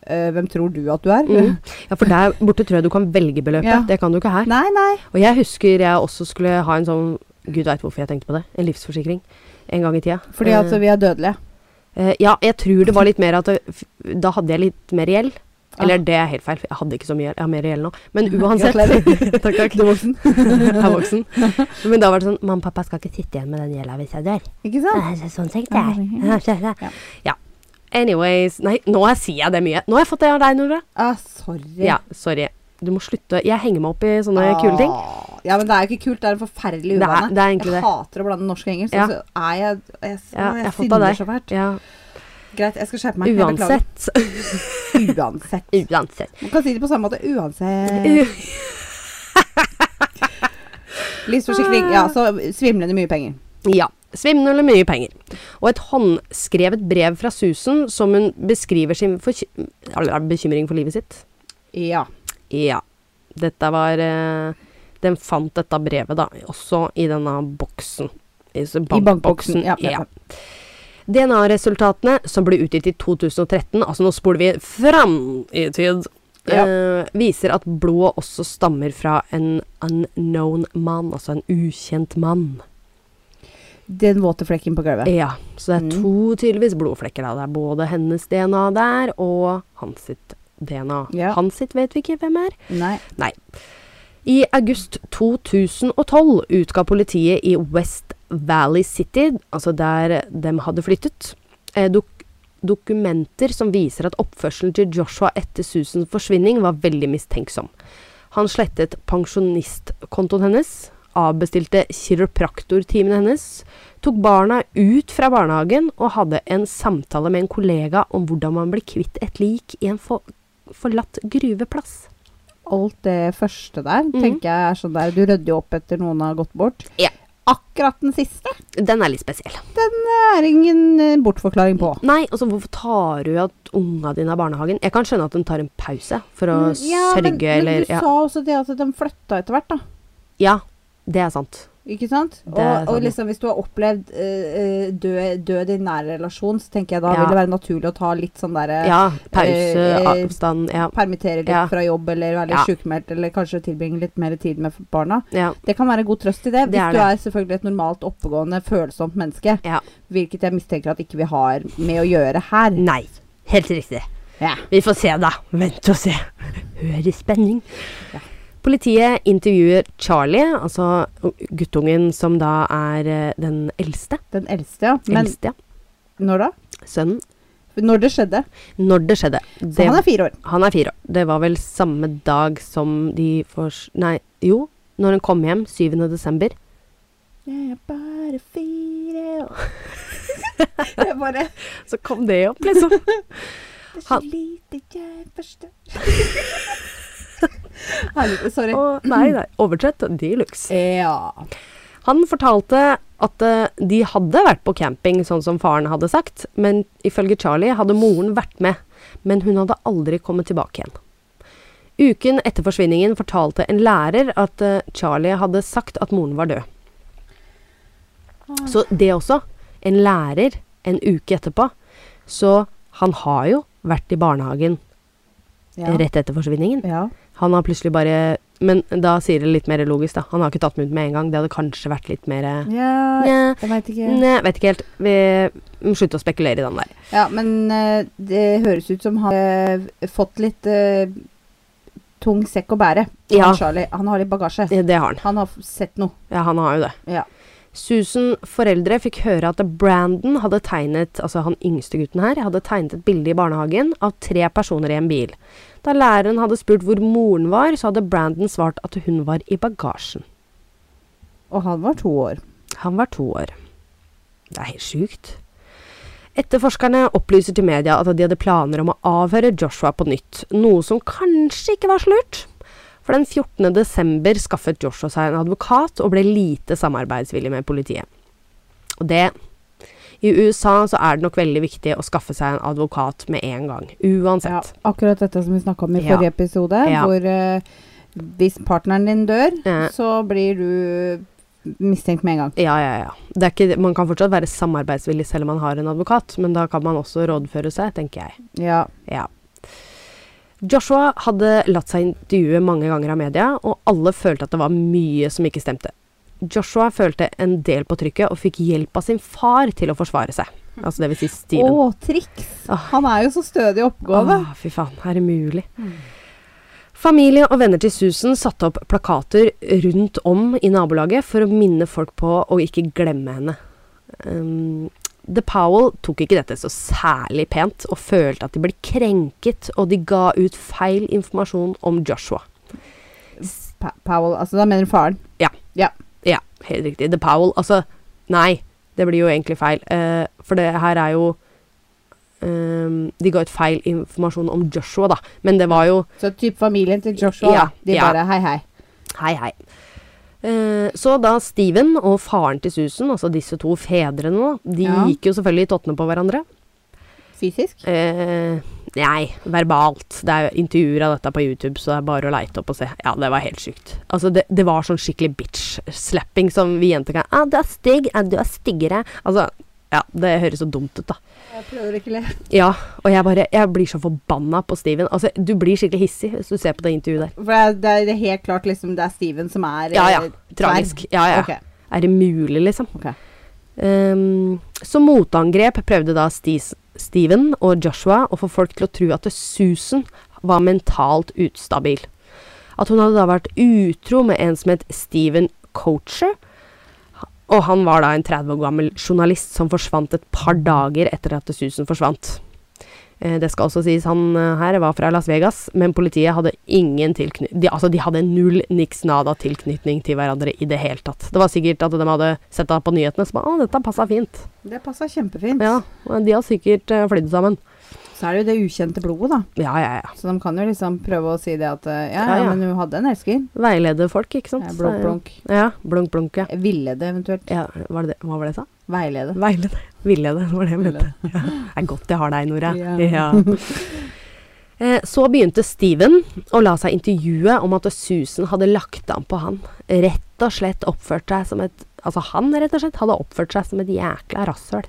Speaker 2: «Eh, Hvem tror du at du er?
Speaker 1: Mm. ja, for der borte tror jeg du kan velge beløpet.
Speaker 2: Ja.
Speaker 1: Det kan du ikke her.
Speaker 2: Nei, nei.
Speaker 1: Og jeg husker jeg også skulle ha en sånn Gud veit hvorfor jeg tenkte på det. En livsforsikring. En gang i tida.
Speaker 2: Fordi at
Speaker 1: Eh,
Speaker 2: vi er dødelige.
Speaker 1: Eh, ja, jeg tror det var litt mer at det, f- Da hadde jeg litt mer gjeld. Eller det er helt feil, for jeg hadde ikke så mye gjeld. Jeg har mer gjeld nå. Men uansett
Speaker 2: Gratulerer.
Speaker 1: Takk, takk.
Speaker 2: Du er voksen.
Speaker 1: Jeg er voksen. Men da var det sånn Mamma og pappa skal ikke sitte igjen med den gjelda hvis jeg dør.
Speaker 2: Ikke sant?
Speaker 1: Det er Sånn tenkt jeg.
Speaker 2: Ja.
Speaker 1: Ja. Anyways Nei, nå er- sier jeg det mye. Nå har jeg fått det av deg, Nora.
Speaker 2: Ah, sorry.
Speaker 1: Ja, sorry. Du må slutte. Jeg henger meg opp i sånne kule ting.
Speaker 2: Ah, Ja, men det er jo ikke kult. Det er en forferdelig
Speaker 1: Det er-
Speaker 2: uvane.
Speaker 1: det er egentlig det.
Speaker 2: Jeg hater å blande norsk og engelsk.
Speaker 1: Ja.
Speaker 2: og Så er jeg
Speaker 1: Ja,
Speaker 2: Jeg, jeg,
Speaker 1: jeg har fått av
Speaker 2: sinner
Speaker 1: deg.
Speaker 2: så fælt.
Speaker 1: Ja,
Speaker 2: Greit, jeg skal skjerpe meg. Jeg beklager.
Speaker 1: uansett.
Speaker 2: Uansett.
Speaker 1: Uansett.
Speaker 2: Man kan si det på samme måte. Uansett. Livsforsikring. Ja, så svimlende mye penger.
Speaker 1: Ja. Svimlende mye penger. Og et håndskrevet brev fra Susan som hun beskriver sin forky- eller bekymring for livet sitt.
Speaker 2: Ja.
Speaker 1: Ja. Dette var eh, Den fant dette brevet, da, også i denne boksen. I, s-
Speaker 2: I bankboksen. Ja, ja, ja.
Speaker 1: DNA-resultatene som ble utgitt i 2013, altså nå spoler vi fram i tid,
Speaker 2: Ja.
Speaker 1: eh, viser at blodet også stammer fra en unknown man, altså en ukjent mann.
Speaker 2: Den våte flekken på gulvet.
Speaker 1: Ja, så det er
Speaker 2: Mm.
Speaker 1: to tydeligvis blodflekker da. Det er både hennes DNA der, og hans sitt DNA.
Speaker 2: Ja.
Speaker 1: Hans sitt vet vi ikke hvem er.
Speaker 2: Nei.
Speaker 1: I august 2012 utga politiet i West Valley City, altså der de hadde flyttet, eh, dok dokumenter som viser at oppførselen til Joshua etter Susans forsvinning var veldig mistenksom. Han slettet pensjonistkontoen hennes, avbestilte kiropraktortimene hennes, tok barna ut fra barnehagen og hadde en samtale med en kollega om hvordan man blir kvitt et lik i en for forlatt gruveplass.
Speaker 2: Alt det første der tenker jeg er sånn der Du rydder jo opp etter noen har gått bort.
Speaker 1: Mhm. Ja.
Speaker 2: Akkurat den siste
Speaker 1: Den er litt spesiell.
Speaker 2: er ingen eh, bortforklaring på.
Speaker 1: Nei, altså hvorfor tar du at unga dine er i barnehagen? Jeg kan skjønne at de tar en pause for å
Speaker 2: Mm, ja,
Speaker 1: sørge
Speaker 2: men,
Speaker 1: eller
Speaker 2: Men du
Speaker 1: ja.
Speaker 2: sa også det at de flytta etter hvert, da.
Speaker 1: ja, det er sant.
Speaker 2: Ikke sant?
Speaker 1: Det
Speaker 2: Og,
Speaker 1: er sant.
Speaker 2: og liksom hvis du har opplevd eh, eh, død, død i nær relasjon, så tenker jeg da
Speaker 1: Ja.
Speaker 2: vil det være naturlig å ta litt sånn derre
Speaker 1: Ja, pause,
Speaker 2: eh,
Speaker 1: avstand, ja.
Speaker 2: Permittere litt
Speaker 1: Ja.
Speaker 2: fra jobb, eller være litt
Speaker 1: Ja.
Speaker 2: sjukmeldt, eller kanskje tilbringe litt mer tid med barna.
Speaker 1: ja.
Speaker 2: Det kan være god trøst i det,
Speaker 1: Det
Speaker 2: hvis
Speaker 1: er
Speaker 2: du
Speaker 1: det.
Speaker 2: er selvfølgelig et normalt oppegående, følsomt menneske.
Speaker 1: Ja.
Speaker 2: Hvilket jeg mistenker at ikke vi har med å gjøre her.
Speaker 1: Nei, helt riktig.
Speaker 2: Ja.
Speaker 1: Vi får se, da. Vent og se. Hør i spenning.
Speaker 2: Ja.
Speaker 1: Politiet intervjuer Charlie, altså guttungen som da er eh, den eldste.
Speaker 2: Den eldste, ja. Men
Speaker 1: eldste ja.
Speaker 2: når da?
Speaker 1: Sønnen.
Speaker 2: Når det skjedde.
Speaker 1: Når det skjedde.
Speaker 2: Så
Speaker 1: Det,
Speaker 2: han er fire år.
Speaker 1: han er fire år. Det var vel samme dag som de fors... Nei, jo. Når hun kom hjem 7. desember.
Speaker 2: Jeg er bare fire år. jeg bare
Speaker 1: Så kom det opp, liksom.
Speaker 2: Det er så
Speaker 1: Han-
Speaker 2: lite jeg forstår. Herregud, sorry.
Speaker 1: Og nei, nei. Overtrett de luxe.
Speaker 2: Ja.
Speaker 1: Han fortalte at eh, de hadde vært på camping, sånn som faren hadde sagt, men ifølge Charlie hadde moren vært med, men hun hadde aldri kommet tilbake igjen. Uken etter forsvinningen fortalte en lærer at eh, Charlie hadde sagt at moren var død. Så det også. En lærer en uke etterpå. Så han har jo vært i barnehagen
Speaker 2: ja.
Speaker 1: rett etter forsvinningen.
Speaker 2: Ja.
Speaker 1: Han har plutselig bare Men da sier det litt mer logisk, da. Han har ikke tatt med ut med en gang. Det hadde kanskje vært litt mer eh,
Speaker 2: ja.
Speaker 1: Nja,
Speaker 2: Jeg veit ikke.
Speaker 1: Nei, jeg vet ikke helt. Vi må slutte å spekulere i den der.
Speaker 2: Ja, men eh, det høres ut som han har fått litt eh, tung sekk å bære.
Speaker 1: Ja.
Speaker 2: Han, Charlie, han har litt bagasje.
Speaker 1: Eh, Det har han.
Speaker 2: Han har f- sett noe.
Speaker 1: Ja, han har jo det.
Speaker 2: Ja.
Speaker 1: Susan foreldre fikk høre at Brandon hadde tegnet, altså han yngste gutten her, hadde tegnet et bilde i barnehagen av tre personer i en bil. Da læreren hadde spurt hvor moren var, så hadde Brandon svart at hun var i bagasjen.
Speaker 2: Og han var to år.
Speaker 1: Han var to år. Det er helt sjukt. Etterforskerne opplyser til media at de hadde planer om å avhøre Joshua på nytt, noe som kanskje ikke var så lurt. For den 14. desember skaffet Joshua seg en advokat og ble lite samarbeidsvillig med politiet. Og det I USA så er det nok veldig viktig å skaffe seg en advokat med en gang.
Speaker 2: Ja,
Speaker 1: Uansett.
Speaker 2: akkurat dette som vi snakka om i
Speaker 1: Ja.
Speaker 2: forrige episode,
Speaker 1: Ja.
Speaker 2: hvor eh, hvis partneren din dør,
Speaker 1: Ja.
Speaker 2: så blir du mistenkt med en gang.
Speaker 1: Eh, Ja, ja, ja. Det er ikke, man kan fortsatt være samarbeidsvillig selv om man har en advokat, men da kan man også rådføre seg, tenker jeg.
Speaker 2: Ja.
Speaker 1: Ja. Joshua hadde latt seg intervjue mange ganger av media, og alle følte at det var mye som ikke stemte. Joshua følte en del på trykket og fikk hjelp av sin far til å forsvare seg. Altså det vil si Steven.
Speaker 2: Å, triks!
Speaker 1: Ah.
Speaker 2: Han er jo så stødig i oppgave.
Speaker 1: Åh, Ah, fy faen, er det mulig? Familie og venner til Susan satte opp plakater rundt om i nabolaget for å minne folk på å ikke glemme henne. Um, The Powell tok ikke dette så særlig pent, og følte at de ble krenket, og de ga ut feil informasjon om Joshua.
Speaker 2: Pa Powell, altså da mener du faren.
Speaker 1: Ja, helt riktig. The Powell. Altså, nei. Det blir jo egentlig feil. eh, for det her er jo ehm, De ga ut feil informasjon om Joshua, da. Men det var jo
Speaker 2: Så typ familien til Joshua,
Speaker 1: Ja,
Speaker 2: de
Speaker 1: ja.
Speaker 2: bare hei, hei.
Speaker 1: Hei, hei. Eh, Så da Steven og faren til Susan, altså disse to fedrene, da, de
Speaker 2: Ja.
Speaker 1: gikk jo selvfølgelig i tottene på hverandre.
Speaker 2: Fysisk?
Speaker 1: Eh, nei, verbalt. Det er jo intervjuer av dette på YouTube, så det er bare å leite opp og se. Ja, det var helt sjukt. Altså, det, det var sånn skikkelig bitch-slapping som vi jenter kan ah, 'Du er stygg. Ah, du er styggere.' Altså, ja, det høres så dumt ut, da.
Speaker 2: Jeg prøver ikke å le.
Speaker 1: Ja, og jeg bare Jeg blir så forbanna på Steven. Altså, du blir skikkelig hissig hvis du ser på det intervjuet der.
Speaker 2: For det er- det er helt klart liksom det er Steven som er
Speaker 1: Ja, ja.
Speaker 2: eh,
Speaker 1: Tragisk. Ja, ja.
Speaker 2: Ok.
Speaker 1: Er det mulig, liksom?
Speaker 2: ok.
Speaker 1: Ehm, som motangrep prøvde da Stis, Steven og Joshua å få folk til å tro at Susan var mentalt ustabil. At hun hadde da vært utro med en som het Steven Coacher. Og han var da en 30 år gammel journalist som forsvant et par dager etter at Susan forsvant. Eh, Det skal også sies han eh, her var fra Las Vegas, men politiet hadde ingen tilknytning de, Altså, de hadde null niks nada tilknytning til hverandre i det hele tatt. Det var sikkert at de hadde sett det på nyhetene så bare Å, dette passa fint.
Speaker 2: Det passa kjempefint.
Speaker 1: Ja, de har sikkert eh, flydd sammen.
Speaker 2: Så er det jo det ukjente blodet, da.
Speaker 1: Ja, ja, ja.
Speaker 2: Så de kan jo liksom prøve å si det at eh, ja,
Speaker 1: Ja,
Speaker 2: ja,
Speaker 1: ja.
Speaker 2: men hun hadde en elsker.
Speaker 1: Veileder folk, ikke sant.
Speaker 2: Eh, Blunk, blunk.
Speaker 1: Ja. Blunk, blunk, ja.
Speaker 2: Villede, eventuelt.
Speaker 1: ja var det det? Hva var det jeg sa?
Speaker 2: Veilede.
Speaker 1: Veilede. Villede, var det jeg mente. Det er godt jeg har deg, Nora.
Speaker 2: Ja.
Speaker 1: Eh, Så begynte Steven å la seg intervjue om at Susan hadde lagt an på han. Rett og slett oppført seg som et Altså, han rett og slett hadde oppført seg som et jækla rasshøl.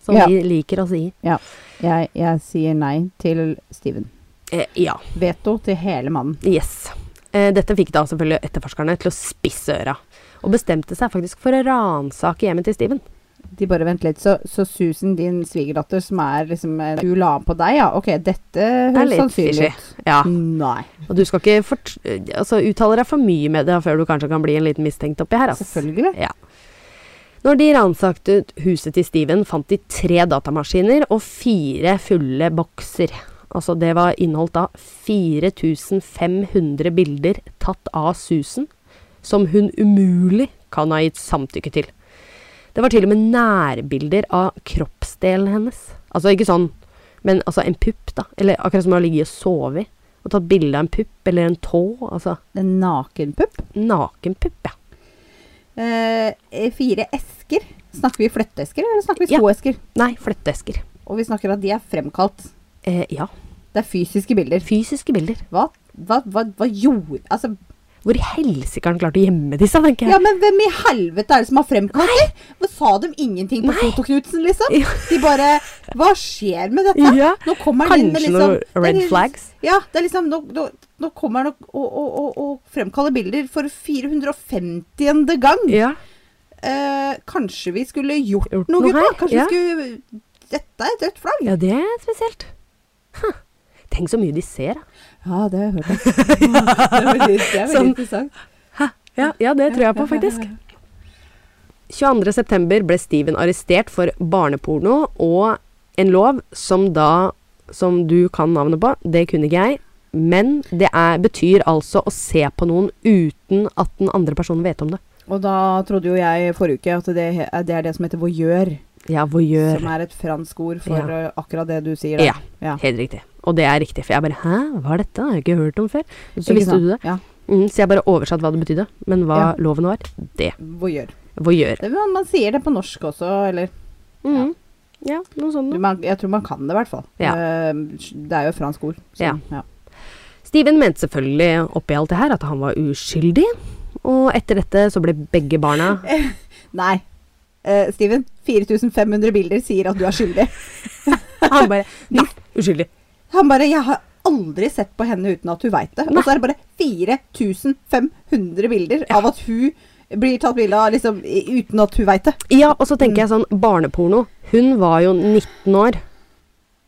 Speaker 1: Som
Speaker 2: Ja.
Speaker 1: vi liker å si.
Speaker 2: Jeg, jeg sier nei til Steven.
Speaker 1: Eh, ja.
Speaker 2: Veto til hele mannen.
Speaker 1: Yes. Eh, dette fikk da selvfølgelig etterforskerne til å spisse øra. Og bestemte seg faktisk for å ransake hjemmet til Steven.
Speaker 2: De bare vent litt. Så, så Susan, din svigerdatter, som er liksom eh, Du la an på deg, ja. Ok, dette høres
Speaker 1: litt
Speaker 2: sannsynlig ut.
Speaker 1: Ja.
Speaker 2: Nei.
Speaker 1: Og du skal ikke fort eh, altså, uttale deg for mye med det før du kanskje kan bli en liten mistenkt oppi her. ass.
Speaker 2: Selvfølgelig.
Speaker 1: Når de ransakte huset til Steven, fant de tre datamaskiner og fire fulle bokser. Altså, det var inneholdt da 4500 bilder tatt av Susan, som hun umulig kan ha gitt samtykke til. Det var til og med nærbilder av kroppsdelen hennes. Altså ikke sånn, men altså en pupp, da. Eller akkurat som å ligge og sove i. Og tatt bilde av en pupp eller en tå. Altså
Speaker 2: En nakenpupp.
Speaker 1: nakenpupp, ja.
Speaker 2: Eh, fire esker. Snakker vi flytteesker, eller snakker vi
Speaker 1: Ja.
Speaker 2: skoesker?
Speaker 1: Nei, flytteesker.
Speaker 2: Og vi snakker at de er fremkalt.
Speaker 1: Eh, ja.
Speaker 2: Det er fysiske bilder.
Speaker 1: Fysiske bilder.
Speaker 2: Hva, hva, hva, hva gjorde Altså,
Speaker 1: Hvor i helsike har han klart å gjemme disse, tenker
Speaker 2: ja,
Speaker 1: jeg.
Speaker 2: men hvem i helvete er det som har fremkalt det? Hva Sa de ingenting på Foto-Knutsen, liksom?
Speaker 1: Ja.
Speaker 2: De bare Hva skjer med dette?
Speaker 1: Ja.
Speaker 2: Nå kommer han inn med
Speaker 1: Kanskje
Speaker 2: liksom
Speaker 1: noen red
Speaker 2: det er-
Speaker 1: flags?
Speaker 2: Ja, det er liksom Nå, nå, nå kommer han og, og, og, og, og fremkaller bilder for 450. gang.
Speaker 1: Ja.
Speaker 2: Eh, kanskje vi skulle gjort,
Speaker 1: Gjort
Speaker 2: noe,
Speaker 1: noe
Speaker 2: gutta?
Speaker 1: her,
Speaker 2: Kanskje
Speaker 1: ja.
Speaker 2: vi skulle Dette er et rødt flagg.
Speaker 1: ja, det er spesielt. Huh. Tenk så mye de ser, da.
Speaker 2: Ja, det har jeg hørt. det er veldig, det er veldig
Speaker 1: Sånn.
Speaker 2: interessant.
Speaker 1: Ja, ja det tror jeg på, faktisk. 22.9. ble Steven arrestert for barneporno og en lov som da Som du kan navnet på, det kunne ikke jeg. Men det er, betyr altså å se på noen uten at den andre personen vet om det.
Speaker 2: Og da trodde jo jeg forrige uke at det, he- er- det er det som heter voyeur,
Speaker 1: Ja, voyeur.
Speaker 2: som er et fransk ord for
Speaker 1: Ja.
Speaker 2: eh, akkurat det du sier.
Speaker 1: Ja, helt riktig. Og det er riktig. For jeg bare Hæ, hva er dette? Har jeg ikke hørt om før. Så visste du det.
Speaker 2: Ja.
Speaker 1: Mm, så jeg bare oversatt hva det betydde. Men hva
Speaker 2: Ja.
Speaker 1: loven var, det.
Speaker 2: Voyeur.
Speaker 1: Voyeur.
Speaker 2: Det, man, man sier det på norsk også, eller
Speaker 1: Mm. Ja, noe sånt
Speaker 2: du,
Speaker 1: noe.
Speaker 2: man, Jeg tror man kan det i hvert fall.
Speaker 1: Ja.
Speaker 2: Eh, det er jo et fransk ord. så-
Speaker 1: Ja. Steven mente selvfølgelig oppi alt det her at han var uskyldig. Og etter dette så ble begge barna
Speaker 2: Nei. Eh, Steven, 4500 bilder sier at du er skyldig.
Speaker 1: Han bare Nei, uskyldig.
Speaker 2: Han bare 'Jeg har aldri sett på henne uten at hun veit det'. Og så er det bare 4500 bilder av at hun blir tatt bilde av liksom, i- uten at hun veit det.
Speaker 1: Ja, og så tenker
Speaker 2: Mm.
Speaker 1: jeg sånn barneporno. Hun var jo 19 år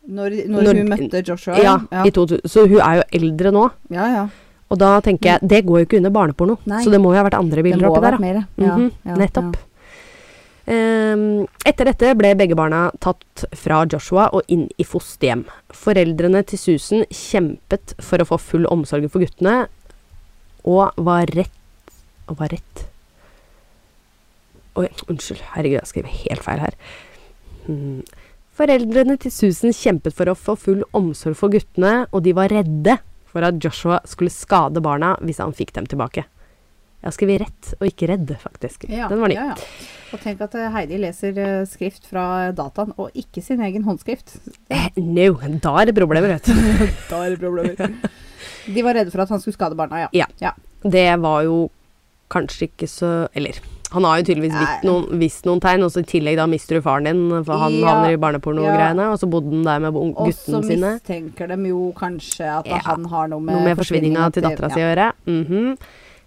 Speaker 2: Når, når,
Speaker 1: Når-
Speaker 2: hun møtte Joshua.
Speaker 1: ja,
Speaker 2: ja.
Speaker 1: I 2000, så hun er jo eldre nå.
Speaker 2: ja, ja.
Speaker 1: Og da tenker jeg det går jo ikke under barneporno.
Speaker 2: Mm. Nei.
Speaker 1: Så det må jo ha vært andre
Speaker 2: Det
Speaker 1: bilder
Speaker 2: må
Speaker 1: oppi
Speaker 2: ha
Speaker 1: der.
Speaker 2: vært
Speaker 1: da.
Speaker 2: mer. Ja,
Speaker 1: Mhm,
Speaker 2: ja,
Speaker 1: nettopp.
Speaker 2: ja.
Speaker 1: Ehm, etter dette ble begge barna tatt fra Joshua og inn i fosterhjem. Foreldrene til Susan kjempet for å få full omsorg for guttene, og var rett Og var rett Oi, unnskyld. Herregud, jeg skriver helt feil her. Hmm. Foreldrene til Susan kjempet for å få full omsorg for guttene, og de var redde for at Joshua skulle skade barna hvis han fikk dem tilbake. Jeg har skrevet rett og ikke redd, faktisk.
Speaker 2: Ja,
Speaker 1: Den var ny.
Speaker 2: ja, ja. Og tenk at eh, Heidi leser eh, skrift fra dataen, og ikke sin egen håndskrift.
Speaker 1: Eh, No, da er det problemer, vet du.
Speaker 2: Da er det problemer. De var redde for at han skulle skade barna, ja.
Speaker 1: Ja. Det var jo kanskje ikke så Eller, han har jo tydeligvis vist
Speaker 2: Nei.
Speaker 1: noen, vist noen tegn, og så i tillegg da mister du faren din, for han
Speaker 2: Ja.
Speaker 1: havner i barneporno-greiene, og så bodde han der med ung-
Speaker 2: Og så
Speaker 1: guttene sine.
Speaker 2: mistenker de jo kanskje at
Speaker 1: Ja.
Speaker 2: han har noe med,
Speaker 1: Noe med forsvinninga til dattera si å gjøre. Mhm.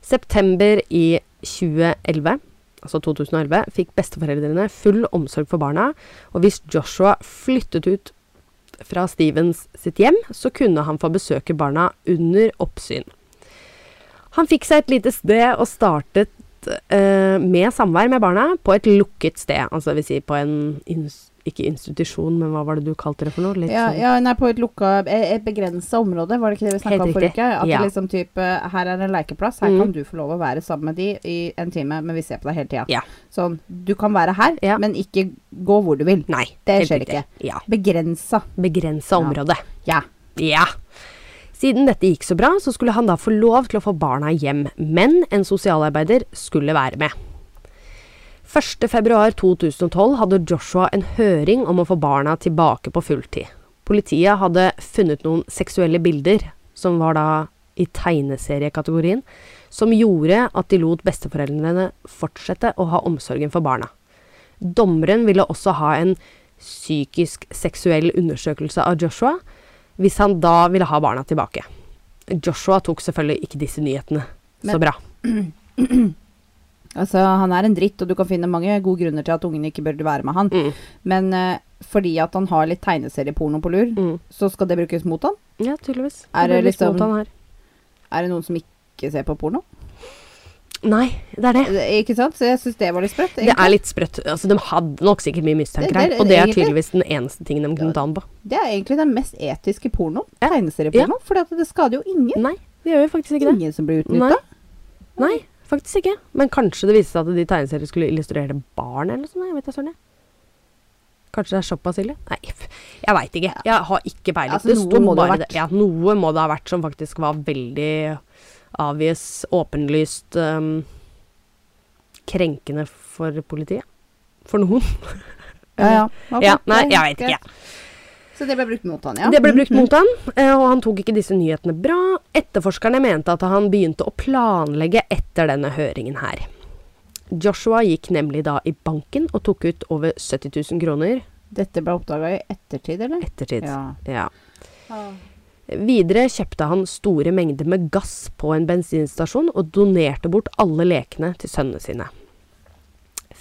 Speaker 1: September i 2011, altså 2011, fikk besteforeldrene full omsorg for barna, og hvis Joshua flyttet ut fra Stevens sitt hjem, så kunne han få besøke barna under oppsyn. Han fikk seg et lite sted og startet eh, med samvær med barna på et lukket sted. Altså det vil si på en ins ikke institusjon, men hva var det du kalte det for noe? Litt
Speaker 2: Ja,
Speaker 1: sånn-
Speaker 2: ja, nei, på et lukka, eh, et begrensa område, var det ikke det vi snakka
Speaker 1: Helt
Speaker 2: om forrige
Speaker 1: riktig.
Speaker 2: uke? At
Speaker 1: Ja.
Speaker 2: det liksom type, her er en lekeplass, her
Speaker 1: Mm.
Speaker 2: kan du få lov å være sammen med de i en time, men vi ser på deg hele tida.
Speaker 1: Ja.
Speaker 2: Sånn, du kan være her,
Speaker 1: Ja.
Speaker 2: men ikke gå hvor du vil.
Speaker 1: Nei, helt
Speaker 2: Det skjer
Speaker 1: riktig. Ja.
Speaker 2: Begrensa.
Speaker 1: Begrensa
Speaker 2: Ja.
Speaker 1: område.
Speaker 2: Ja.
Speaker 1: Ja. Siden dette gikk så bra, så skulle han da få lov til å få barna hjem, men en sosialarbeider skulle være med. 1.2.2012 hadde Joshua en høring om å få barna tilbake på fulltid. Politiet hadde funnet noen seksuelle bilder, som var da i tegneseriekategorien, som gjorde at de lot besteforeldrene fortsette å ha omsorgen for barna. Dommeren ville også ha en psykisk seksuell undersøkelse av Joshua, hvis han da ville ha barna tilbake. Joshua tok selvfølgelig ikke disse nyhetene så
Speaker 2: Men-
Speaker 1: bra.
Speaker 2: Altså, han er en dritt, og du kan finne mange gode grunner til at ungene ikke bør være med han.
Speaker 1: Mm.
Speaker 2: Men eh, fordi at han har litt tegneserieporno på lur,
Speaker 1: Mm.
Speaker 2: så skal det brukes mot han?
Speaker 1: Ja, tydeligvis.
Speaker 2: Er det
Speaker 1: blir litt
Speaker 2: liksom-
Speaker 1: mot han her.
Speaker 2: Er det noen som ikke ser på porno?
Speaker 1: Nei, det er det.
Speaker 2: Ikke sant? Så jeg syns det var litt sprøtt.
Speaker 1: Det
Speaker 2: egentlig.
Speaker 1: er litt sprøtt. Altså, de hadde nok sikkert mye mistanker
Speaker 2: Det- det-
Speaker 1: her. Og det er
Speaker 2: egentlig-
Speaker 1: tydeligvis den eneste tingen de kunne ta den på.
Speaker 2: Det er egentlig den mest etiske pornoen.
Speaker 1: Ja.
Speaker 2: Tegneserieporno. For det skader jo ingen.
Speaker 1: Nei, det gjør jo faktisk ikke det.
Speaker 2: Ingen som blir utnytta.
Speaker 1: Nei, faktisk ikke. Men kanskje det viste seg at de tegneserier skulle illustrere barn eller noe sånt. Jeg vet da søren. jeg. Kanskje det er såpass ille? Nei, f- jeg veit ikke. Jeg har ikke peiling.
Speaker 2: Altså, noe
Speaker 1: sto
Speaker 2: må det ha
Speaker 1: bare
Speaker 2: vært.
Speaker 1: Ja, noe må det ha vært som faktisk var veldig avgjøs, åpenlyst ehm, krenkende for politiet. For noen.
Speaker 2: Ja, ja. Ok,
Speaker 1: Ja, nei,
Speaker 2: det
Speaker 1: jeg
Speaker 2: er
Speaker 1: veit ikke.
Speaker 2: greit.
Speaker 1: jeg.
Speaker 2: Så det ble brukt mot han, ja.
Speaker 1: Det ble brukt mot han, eh, og han tok ikke disse nyhetene bra. Etterforskerne mente at han begynte å planlegge etter denne høringen her. Joshua gikk nemlig da i banken og tok ut over 70 000 kroner
Speaker 2: Dette ble oppdaga i ettertid, eller?
Speaker 1: ettertid.
Speaker 2: Ja.
Speaker 1: Ja.
Speaker 2: Ja.
Speaker 1: Videre kjøpte han store mengder med gass på en bensinstasjon og donerte bort alle lekene til sønnene sine.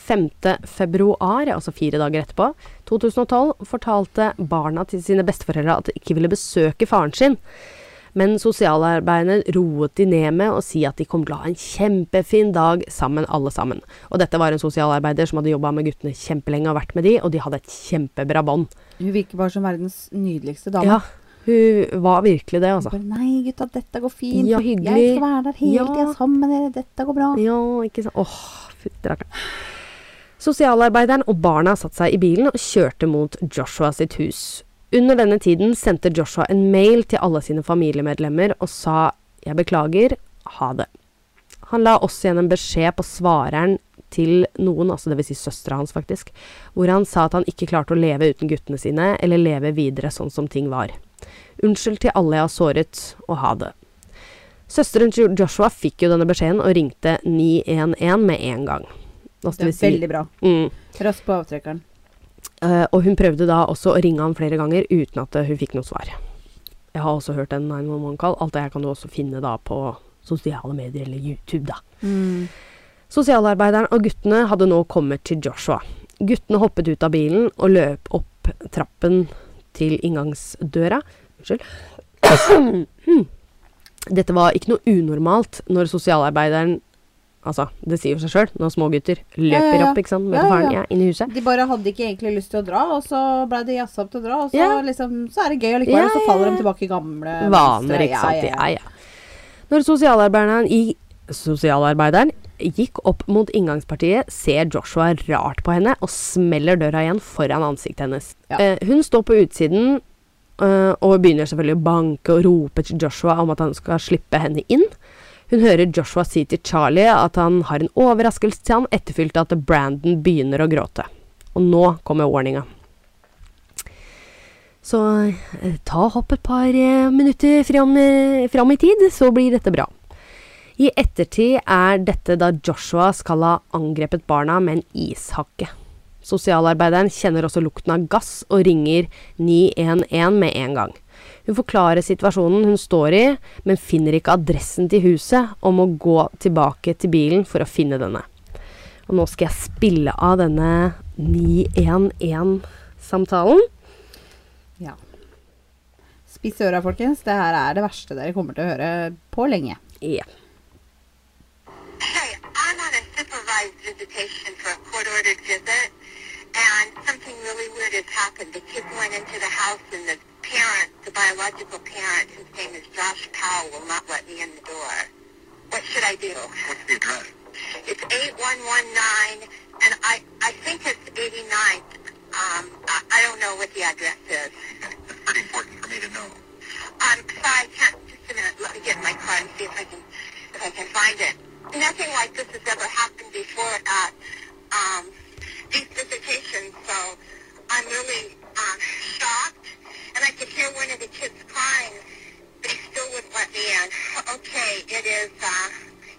Speaker 1: 5. februar, altså fire dager etterpå, 2012, fortalte barna til sine besteforeldre at de ikke ville besøke faren sin. Men sosialarbeideren roet de ned med å si at de kom til å ha en kjempefin dag sammen, alle sammen. Og dette var en sosialarbeider som hadde jobba med guttene kjempelenge og vært med de, og de hadde et kjempebra bånd.
Speaker 2: Hun virker bare som verdens nydeligste dame.
Speaker 1: Ja, hun var virkelig det, altså.
Speaker 2: Bare, Nei, gutta, dette går fint.
Speaker 1: Ja,
Speaker 2: Jeg
Speaker 1: hyggelig.
Speaker 2: skal være der hele
Speaker 1: Ja.
Speaker 2: tida sammen med dere. Dette går bra.
Speaker 1: Ja, ikke sant. Åh, fytti rakkeren. Sosialarbeideren og barna satte seg i bilen og kjørte mot Joshua sitt hus. Under denne tiden sendte Joshua en mail til alle sine familiemedlemmer og sa «Jeg beklager, ha det». Han la også igjen en beskjed på svareren til noen, altså det vil si søstera hans faktisk, hvor han sa at han ikke klarte å leve uten guttene sine, eller leve videre sånn som ting var. Unnskyld til alle jeg har såret, og ha det. Søsteren til Joshua fikk jo denne beskjeden og ringte 911 med en gang. Altså,
Speaker 2: Det er
Speaker 1: vil si-
Speaker 2: veldig bra.
Speaker 1: Mm.
Speaker 2: Raskt på avtrekkeren.
Speaker 1: Eh, og hun prøvde da også å ringe ham flere ganger uten at eh, hun fikk noe svar. Jeg har også hørt en 911-kall. Alt det her kan du også finne da på sosiale medier eller YouTube, da.
Speaker 2: Mm.
Speaker 1: Sosialarbeideren og guttene hadde nå kommet til Joshua. Guttene hoppet ut av bilen og løp opp trappen til inngangsdøra. Unnskyld. Dette var ikke noe unormalt når sosialarbeideren Altså, det sier jo seg sjøl, når smågutter løper
Speaker 2: Ja, ja, ja.
Speaker 1: opp ikke sant, med
Speaker 2: Ja, ja,
Speaker 1: faren
Speaker 2: ja.
Speaker 1: ja, inn i huset.
Speaker 2: De bare hadde ikke egentlig lyst til å dra, og så ble de jazza opp til å dra, og så,
Speaker 1: Ja.
Speaker 2: liksom, så er det gøy allikevel,
Speaker 1: Ja,
Speaker 2: og så
Speaker 1: ja,
Speaker 2: faller
Speaker 1: ja.
Speaker 2: de tilbake i gamle
Speaker 1: vaner,
Speaker 2: mønstre.
Speaker 1: ikke sant. eh, Ja, ja. Når sosialarbeideren, i, sosialarbeideren gikk opp mot inngangspartiet, ser Joshua rart på henne og smeller døra igjen foran ansiktet hennes.
Speaker 2: Ja.
Speaker 1: Eh, hun står på utsiden eh, og begynner selvfølgelig å banke og rope til Joshua om at han skal slippe henne inn. Hun hører Joshua si til Charlie at han har en overraskelse til han, etterfylt av at Brandon begynner å gråte. Og nå kommer warninga. Så eh, ta hopp et par eh, minutter fram, eh, fram i tid, så blir dette bra. I ettertid er dette da Joshua skal ha angrepet barna med en ishakke. Sosialarbeideren kjenner også lukten av gass og ringer 911 med en gang. Hun forklarer situasjonen hun står i, men finner ikke adressen til huset og må gå tilbake til bilen for å finne denne. Og nå skal jeg spille av denne 911-samtalen.
Speaker 2: Ja. Spiss øra, folkens. Det her er det verste dere kommer til å høre på lenge.
Speaker 1: Ja.
Speaker 3: Hi, I'm on a supervised visitation for a court-ordered visit, and something really weird has happened. The kids went into the house, and the parent, the biological parent, whose name is Josh Powell, will not let me in the door. What should I do? What's the address? It's 8119, and I, I think it's 89th. Um, I, I don't know what the address is. That's pretty important for me to know. Um, sorry, I can't, just a minute. Let me get in my car and see if I can, if I can find it. Nothing like this has ever happened before at, um, these visitations, so I'm really, um, shocked. And I could hear one of the kids crying. They still wouldn't let me in. Okay, it is, uh,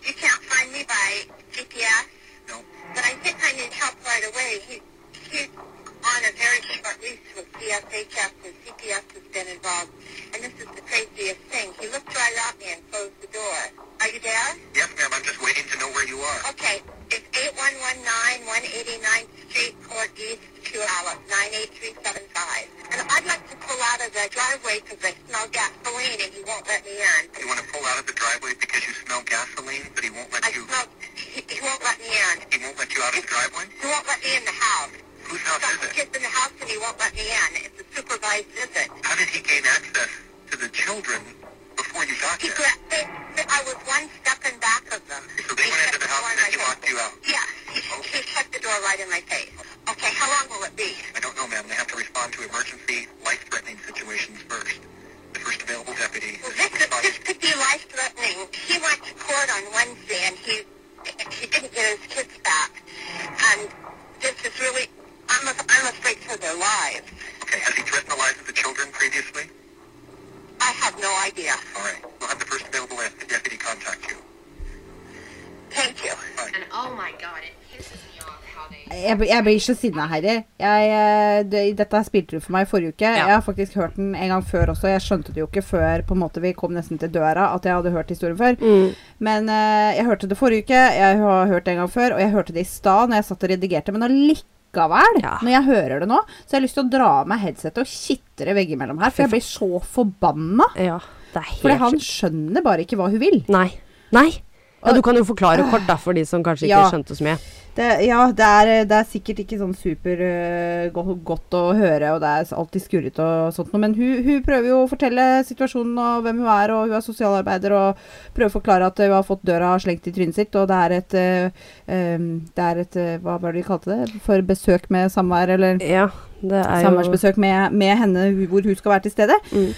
Speaker 3: you can't find me by GPS. No. But I think I need help right away. He, he's on a very short lease with CSHS, and CPS has been involved. And this is the craziest thing. He looked right at me and closed the door. Are you there?
Speaker 4: Yes, ma'am. I'm just waiting to know where you are.
Speaker 3: Okay. It's 8119 189th Street, Court East, to Alice, 98375. And I'd like to pull out of the driveway because I smell gasoline and he won't let me in.
Speaker 4: You want to pull out of the driveway because you smell gasoline, but he won't let
Speaker 3: I
Speaker 4: you.
Speaker 3: smell
Speaker 4: house
Speaker 3: got
Speaker 4: visit?
Speaker 3: the kids in the house and he won't let me in. It's a supervised visit.
Speaker 4: How did he gain access to the children before you got
Speaker 3: He
Speaker 4: there?
Speaker 3: gra- they, they, I was one step in back of them.
Speaker 4: So they
Speaker 3: He
Speaker 4: went
Speaker 3: shut
Speaker 4: into the house
Speaker 3: door
Speaker 4: and
Speaker 3: in
Speaker 4: then he
Speaker 3: my
Speaker 4: locked
Speaker 3: face.
Speaker 4: you out.
Speaker 3: Yeah, he, he shut the door right in my face. Okay, how long will it be?
Speaker 4: I don't know, ma'am. They have to respond to emergency, life-threatening situations first. The first available deputy
Speaker 3: Well,
Speaker 4: is
Speaker 3: this, could-
Speaker 4: responding.
Speaker 3: this could be life-threatening. He went to court on Wednesday, and he he didn't get his kids back. And this is really, I'm af- I'm afraid for their lives.
Speaker 4: Okay, has he threatened the lives of the children previously?
Speaker 3: I have no idea.
Speaker 4: All right. We'll have the first available deputy contact you.
Speaker 3: Thank you.
Speaker 4: Bye.
Speaker 5: And oh my god, it pisses me off how they.
Speaker 2: Jeg, blir- jeg blir så sinna, Heidi. Jeg, eh, det, dette her spilte du for meg forrige uke. Jeg har faktisk hørt den en gang før også. Jeg skjønte det jo ikke før på en måte vi kom nesten til døra at jeg hadde hørt historien før.
Speaker 1: Mm.
Speaker 2: Men eh, jeg hørte det forrige uke, jeg har hørt det en gang før, og jeg hørte det i stad når jeg satt og redigerte. Men allikevel,
Speaker 1: Ja.
Speaker 2: når jeg hører det nå, så har jeg lyst til å dra av meg headsetet og kitre veggimellom her, for jeg blir så forbanna.
Speaker 1: Ja, det er helt
Speaker 2: Fordi han skjønner bare ikke hva hun vil.
Speaker 1: Nei. Nei. Ja, du kan jo forklare kort, da, for de som kanskje ikke
Speaker 2: Ja.
Speaker 1: skjønte så mye.
Speaker 2: Det, ja, det er, det er sikkert ikke sånn supergodt å høre, og det er alltid skurrete og sånt noe, men hun, hun prøver jo å fortelle situasjonen og hvem hun er, og hun er sosialarbeider, og prøver å forklare at hun har fått døra slengt i trynet sitt, og det er et, eh, em, det er et eh, hva var det de kalte det, for besøk med samvær, eller
Speaker 1: Ja, det er jo Mm.
Speaker 2: samværsbesøk med, med henne hu- hvor hun skal være til stede.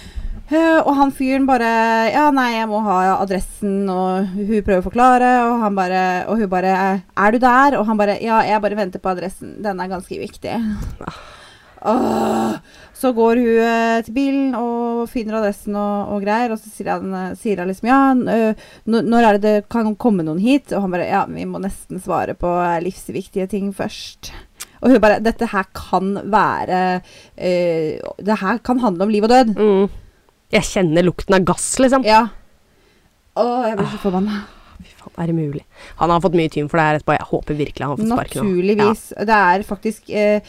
Speaker 2: Eh, og han fyren bare Ja, nei, jeg må ha adressen, og hun prøver å forklare, og han bare Og hun bare Er er du der? Og han bare Ja, jeg bare venter på adressen. Den er ganske viktig. Åh. Så går hun eh, til bilen og finner adressen og, og greier, og så sier han, eh, sier han liksom ja, n- øh, nå- når er det det kan komme noen hit? Og han bare ja, vi må nesten svare på eh, livsviktige ting først. Og hun bare dette her kan være eh, Det her kan handle om liv og død.
Speaker 1: mm. Jeg kjenner lukten av gass, liksom.
Speaker 2: Ja. Å, jeg blir
Speaker 1: Ah,
Speaker 2: så forbanna.
Speaker 1: Fy faen, er det mulig? Han har fått mye tyn for det her etterpå. Jeg håper virkelig han har fått sparken. nå.
Speaker 2: Naturligvis. Det er faktisk eh,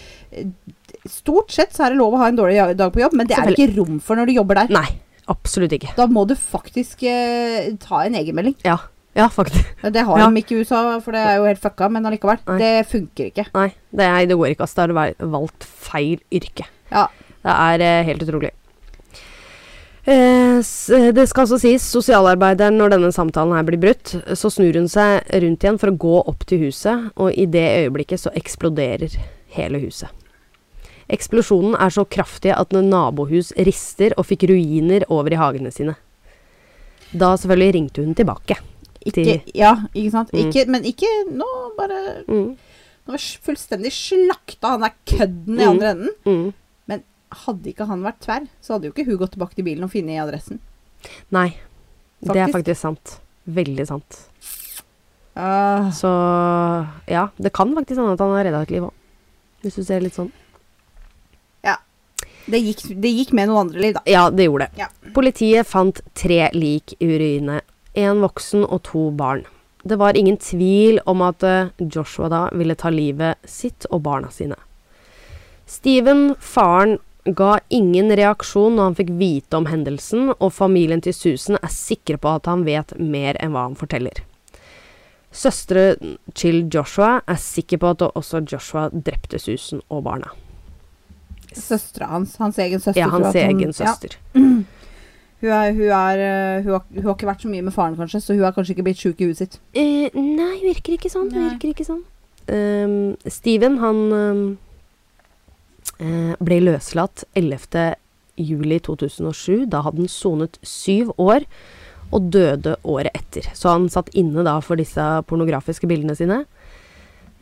Speaker 2: Stort sett så er det lov å ha en dårlig dag på jobb, men det er det ikke rom for når du jobber der.
Speaker 1: Ja. Nei, absolutt ikke.
Speaker 2: Da må du faktisk eh, ta en egenmelding.
Speaker 1: Ja. Ja, faktisk.
Speaker 2: Det har
Speaker 1: Ja.
Speaker 2: de ikke i USA, for det er jo helt fucka, men allikevel.
Speaker 1: Nei.
Speaker 2: Det funker ikke.
Speaker 1: Nei, det, er, det går ikke. Altså, da har du val- valgt feil yrke.
Speaker 2: Ja.
Speaker 1: Det er eh, helt utrolig. Eh, s- det skal også sies, sosialarbeideren, når denne samtalen her blir brutt, så snur hun seg rundt igjen for å gå opp til huset, og i det øyeblikket så eksploderer hele huset. Eksplosjonen er så kraftig at noen nabohus rister og fikk ruiner over i hagene sine. Da selvfølgelig ringte hun tilbake.
Speaker 2: Ikke,
Speaker 1: til-
Speaker 2: ja, ikke sant?
Speaker 1: Mm.
Speaker 2: Ikke, men ikke nå, bare
Speaker 1: Mm,
Speaker 2: Nå var fullstendig slakta han der kødden i
Speaker 1: Mm.
Speaker 2: andre enden.
Speaker 1: mm.
Speaker 2: Men hadde ikke han vært tverr, så hadde jo ikke hun gått tilbake til bilen og funnet adressen.
Speaker 1: Nei, det er
Speaker 2: Faktisk.
Speaker 1: faktisk sant. Veldig sant.
Speaker 2: Ah,
Speaker 1: Så ja, det kan faktisk hende at han har redda et liv òg. Hvis du ser litt sånn.
Speaker 2: det, gikk, det gikk med noen andre liv, da.
Speaker 1: Ja, det gjorde det.
Speaker 2: Ja.
Speaker 1: Politiet fant tre lik i ruinene. En voksen og to barn. Det var ingen tvil om at eh, Joshua da ville ta livet sitt og barna sine. Steven, faren, ga ingen reaksjon når han fikk vite om hendelsen, og familien til Susan er sikre på at han vet mer enn hva han forteller. Søsteren til Joshua er sikker på at også Joshua drepte Susan og barna.
Speaker 2: Søstera hans. Hans egen søster.
Speaker 1: Ja,
Speaker 2: tror
Speaker 1: hans
Speaker 2: jeg at hun-
Speaker 1: egen søster.
Speaker 2: Ja, hun, er, hun, er, eh, hun, har, hun har ikke vært så mye med faren, kanskje, så hun har kanskje ikke blitt sjuk i huet sitt.
Speaker 1: Eh, nei, virker ikke sånn.
Speaker 2: Nei.
Speaker 1: Virker ikke sånn. Ehm, Steven, han ehm, eh, ble løslatt 11. juli 2007. Da hadde han sonet syv år og døde året etter. Så han satt inne da for disse pornografiske bildene sine.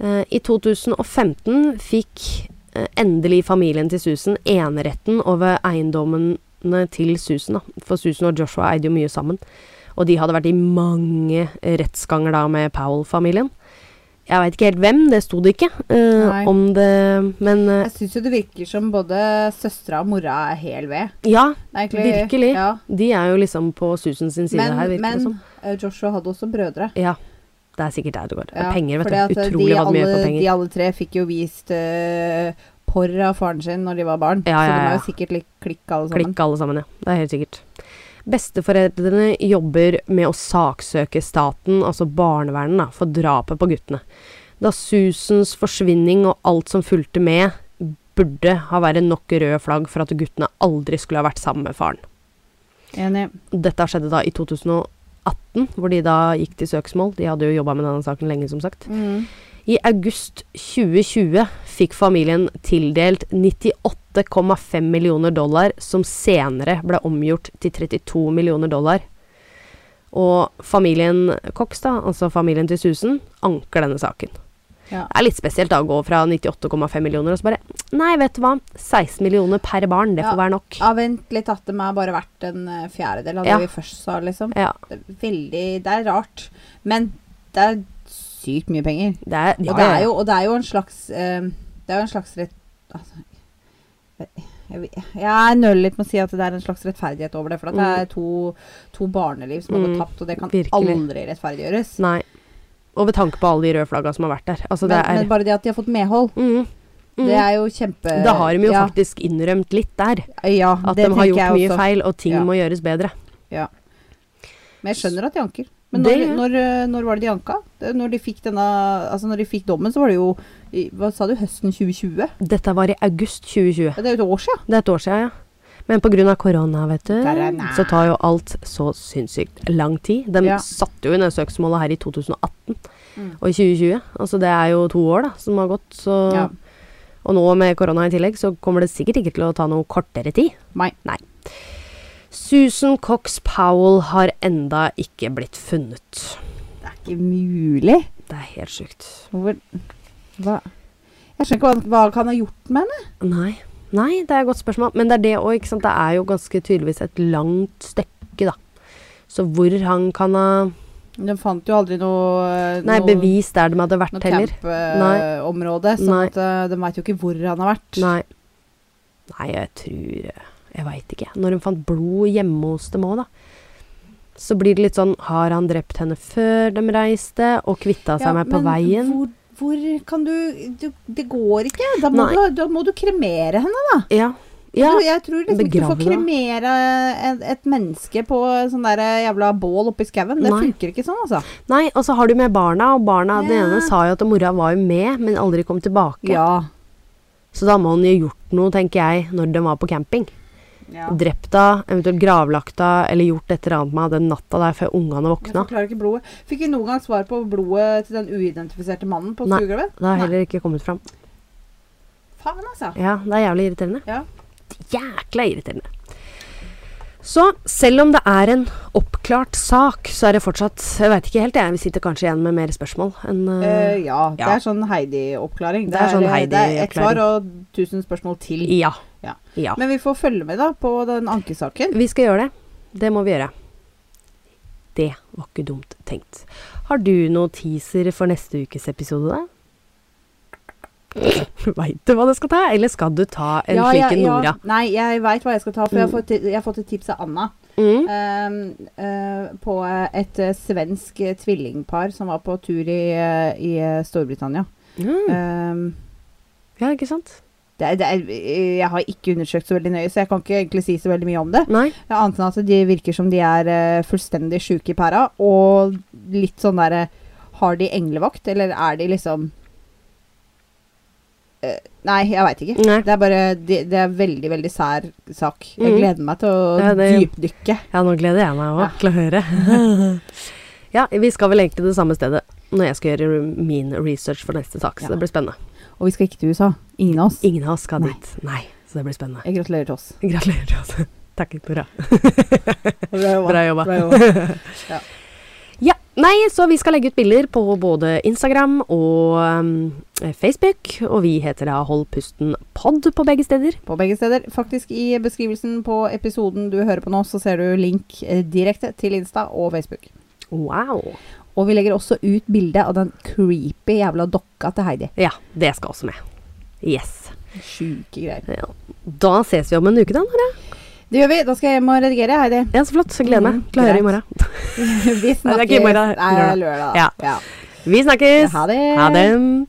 Speaker 1: Eh, I 2015 fikk eh, endelig familien til Susan eneretten over eiendommene til Susan. Da. For Susan og Joshua eide jo mye sammen. Og de hadde vært i mange rettsganger da med Powell-familien. Jeg veit ikke helt hvem, det sto det ikke. eh,
Speaker 2: Nei.
Speaker 1: om det Men eh,
Speaker 2: Jeg syns jo det virker som både søstera og mora er hel ved.
Speaker 1: ja,
Speaker 2: Det er egentlig-
Speaker 1: virkelig.
Speaker 2: Ja.
Speaker 1: De er jo liksom på Susan sin side
Speaker 2: Men,
Speaker 1: her, virker sånn. det
Speaker 2: men
Speaker 1: som.
Speaker 2: eh, Joshua hadde også brødre.
Speaker 1: Ja. Det er sikkert der det går. Det
Speaker 2: Ja,
Speaker 1: er penger, vet
Speaker 2: fordi at,
Speaker 1: du.
Speaker 2: eh,
Speaker 1: Utrolig hva
Speaker 2: de
Speaker 1: de gjør
Speaker 2: alle-
Speaker 1: for penger.
Speaker 2: De alle tre fikk jo vist uh, porr av faren sin når de var barn,
Speaker 1: Ja, ja,
Speaker 2: så de var
Speaker 1: ja.
Speaker 2: jo sikkert litt klikk alle sammen.
Speaker 1: Klikk alle sammen, ja. Det er helt sikkert. Besteforeldrene jobber med å saksøke staten, altså barnevernet, da, for drapet på guttene. Da Susans forsvinning og alt som fulgte med, burde ha vært nok røde flagg for at guttene aldri skulle ha vært sammen med faren.
Speaker 2: Enig.
Speaker 1: Dette skjedde da i 2018, hvor de da gikk til søksmål. De hadde jo jobba med denne saken lenge, som sagt.
Speaker 2: Mm.
Speaker 1: I august 2020 fikk familien tildelt 98,5 millioner dollar, som senere ble omgjort til 32 millioner dollar. Og familien Cox, da, altså familien til Susan, anker denne saken.
Speaker 2: Ja.
Speaker 1: Det er litt spesielt da å gå fra 98,5 millioner og så bare Nei, vet du hva, 16 millioner per barn, det
Speaker 2: Ja.
Speaker 1: får være nok.
Speaker 2: ja, vent litt at de har bare vært en eh, fjerdedel av det
Speaker 1: Ja.
Speaker 2: vi først sa, liksom.
Speaker 1: Ja.
Speaker 2: Det er veldig Det er rart. Men det er sykt mye penger.
Speaker 1: Det er, ja,
Speaker 2: og, det
Speaker 1: ja,
Speaker 2: er
Speaker 1: ja.
Speaker 2: jo, og det er jo en slags eh, Det er jo en slags rett... Altså, jeg, jeg, jeg nøler litt med å si at det er en slags rettferdighet over det. For at det er to, to barneliv som har gått
Speaker 1: Mm,
Speaker 2: tapt, og det kan
Speaker 1: virkelig.
Speaker 2: aldri rettferdiggjøres.
Speaker 1: Nei. Og ved tanke på alle de røde flagga som har vært der. Altså,
Speaker 2: Men,
Speaker 1: det er
Speaker 2: men bare det at de har fått medhold,
Speaker 1: mm, mm.
Speaker 2: det er jo kjempe...
Speaker 1: Da har de jo
Speaker 2: ja,
Speaker 1: faktisk innrømt litt der.
Speaker 2: ja,
Speaker 1: At
Speaker 2: det
Speaker 1: de har
Speaker 2: tenker
Speaker 1: gjort
Speaker 2: jeg
Speaker 1: mye
Speaker 2: også.
Speaker 1: feil, og ting
Speaker 2: Ja.
Speaker 1: må gjøres bedre.
Speaker 2: Ja. Men jeg skjønner at de anker. Men
Speaker 1: Det
Speaker 2: når,
Speaker 1: gjør jeg.
Speaker 2: når, eh, når var det de anka? Det- Når de fikk denne Altså, når de fikk dommen, så var det jo i- Hva sa du? Høsten 2020?
Speaker 1: Dette var i august 2020.
Speaker 2: Ja, Det er jo et år siden.
Speaker 1: Det er et år siden, ja. Men pga. korona, vet du,
Speaker 2: Korona.
Speaker 1: så tar jo alt så sinnssykt lang tid. De
Speaker 2: Ja. Mm.
Speaker 1: satte jo inn det søksmålet her i 2018 og i 2020. Altså det er jo to år da, som har gått. Så,
Speaker 2: Ja.
Speaker 1: Og nå med korona i tillegg, så kommer det sikkert ikke til å ta noe kortere tid.
Speaker 2: Mai.
Speaker 1: Nei. Susan Cox Powell har enda ikke blitt funnet.
Speaker 2: Det er ikke mulig.
Speaker 1: Det er helt sjukt.
Speaker 2: Hvor Hva? Jeg skjønner ikke hva, hva han har gjort med henne.
Speaker 1: Nei. Nei, det er et godt spørsmål. Men det er det òg, ikke sant. Det er jo ganske tydeligvis et langt stykke, da. Så hvor han kan ha
Speaker 2: De fant jo aldri noe eh,
Speaker 1: Nei,
Speaker 2: noe,
Speaker 1: bevis der de hadde
Speaker 2: noe
Speaker 1: vært heller.
Speaker 2: campområde,
Speaker 1: Nei.
Speaker 2: så at, eh, de veit jo ikke hvor han har vært.
Speaker 1: Nei. Nei, jeg tror Jeg veit ikke. Når hun fant blod hjemme hos dem òg, da. Så blir det litt sånn Har han drept henne før de reiste, og kvitta seg med altså, på
Speaker 2: men
Speaker 1: veien?
Speaker 2: Hvor, hvor kan du, du Det går ikke. Da må
Speaker 1: Nei.
Speaker 2: du, da må du kremere henne, da.
Speaker 1: Ja. ja.
Speaker 2: Du, jeg tror liksom ikke du
Speaker 1: begrave
Speaker 2: får
Speaker 1: det.
Speaker 2: kremere et, et menneske på sånn der jævla bål oppi skauen. Det
Speaker 1: Nei.
Speaker 2: funker ikke sånn, altså.
Speaker 1: Nei, og så har du med barna, og barna Den
Speaker 2: Ja.
Speaker 1: ene sa jo at mora var jo med, men aldri kom tilbake.
Speaker 2: Ja.
Speaker 1: Så da må han jo gjort noe, tenker jeg, når de var på camping.
Speaker 2: ja.
Speaker 1: Drept henne, eventuelt gravlagt henne, eller gjort et eller annet med henne den natta der før ungene
Speaker 2: Jeg
Speaker 1: våkna.
Speaker 2: forklarer ikke blodet. Fikk vi noen gang svar på blodet til den uidentifiserte mannen på
Speaker 1: Nei.
Speaker 2: stuegulvet?
Speaker 1: Det har heller ikke kommet fram.
Speaker 2: Faen, altså.
Speaker 1: Ja, det er jævlig irriterende.
Speaker 2: Ja.
Speaker 1: Jækla irriterende. Så selv om det er en oppklart sak, så er det fortsatt Jeg veit ikke helt, jeg. Vi sitter kanskje igjen med mer spørsmål enn
Speaker 2: Eh,
Speaker 1: eh,
Speaker 2: ja, det
Speaker 1: Ja.
Speaker 2: er sånn Heidi-oppklaring.
Speaker 1: Det er sånn
Speaker 2: eh, det er ett
Speaker 1: Heidi-oppklaring.
Speaker 2: svar og tusen spørsmål til.
Speaker 1: Ja.
Speaker 2: Ja.
Speaker 1: ja. Mm.
Speaker 2: Men vi får følge med da på den ankesaken.
Speaker 1: Vi skal gjøre det. Det må vi gjøre. Det var ikke dumt tenkt. Har du noen teaser for neste ukes episode, da? Veit du hva det skal ta, eller skal du ta en
Speaker 2: Ja,
Speaker 1: slik
Speaker 2: ja,
Speaker 1: en
Speaker 2: ja.
Speaker 1: Nora?
Speaker 2: Nei, jeg veit hva jeg skal ta, for jeg har fått, jeg har fått et tips av Anna.
Speaker 1: Mm.
Speaker 2: Ehm, eh, på eh, et eh, svensk eh, tvillingpar som var på tur i, eh, i eh, Storbritannia.
Speaker 1: Mm.
Speaker 2: Ehm,
Speaker 1: Ja, ikke sant?
Speaker 2: det, er- det er, jeg har ikke undersøkt så veldig nøye, så jeg kan ikke egentlig si så veldig mye om det.
Speaker 1: Nei?
Speaker 2: Jeg Annet enn at de virker som de er eh, fullstendig sjuke i pæra, og litt sånn derre Har de englevakt, eller er de liksom Eh, Nei, Mm. jeg veit ikke.
Speaker 1: Nei.
Speaker 2: Det er bare Det, det er veldig, veldig sær sak. Jeg
Speaker 1: Mhm.
Speaker 2: gleder meg til å
Speaker 1: Ja, det-
Speaker 2: dypdykke.
Speaker 1: Ja, nå gleder jeg meg òg
Speaker 2: Ja.
Speaker 1: til å høre. ja, vi skal vel egentlig det samme stedet når jeg skal gjøre min research for neste sak, så
Speaker 2: Ja.
Speaker 1: det blir spennende.
Speaker 2: Og vi skal ikke til USA. Ingen av oss.
Speaker 1: Ingen av oss skal
Speaker 2: Nei.
Speaker 1: dit. Nei, så det blir spennende.
Speaker 2: Jeg gratulerer til oss.
Speaker 1: Gratulerer. altså. Takk, Nora.
Speaker 2: Bra jobba.
Speaker 1: Bra jobba.
Speaker 2: jobba.
Speaker 1: Ja, nei, så vi skal legge ut bilder på både Instagram og um, Facebook, og vi heter da Hold pusten pod på begge steder.
Speaker 2: På begge steder. Faktisk i beskrivelsen på episoden du hører på nå, så ser du link eh, direkte til Insta og Facebook.
Speaker 1: Wow.
Speaker 2: Og vi legger også ut bilde av den creepy jævla dokka til Heidi.
Speaker 1: Ja, det skal også med. Yes.
Speaker 2: Sjuke greier.
Speaker 1: Ja. Da ses vi om en uke da, Nora.
Speaker 2: Det gjør vi. Da skal jeg hjem og redigere, Heidi.
Speaker 1: Ja, så flott. Så gleder jeg meg
Speaker 2: Mm,
Speaker 1: til å høre i morgen.
Speaker 2: Vi snakkes
Speaker 1: Nei, det er ikke i morgen, det er
Speaker 2: Nei,
Speaker 1: lørdag.
Speaker 2: lørdag. da.
Speaker 1: Ja.
Speaker 2: Ja.
Speaker 1: Vi snakkes.
Speaker 2: Ha det.
Speaker 1: Ha det.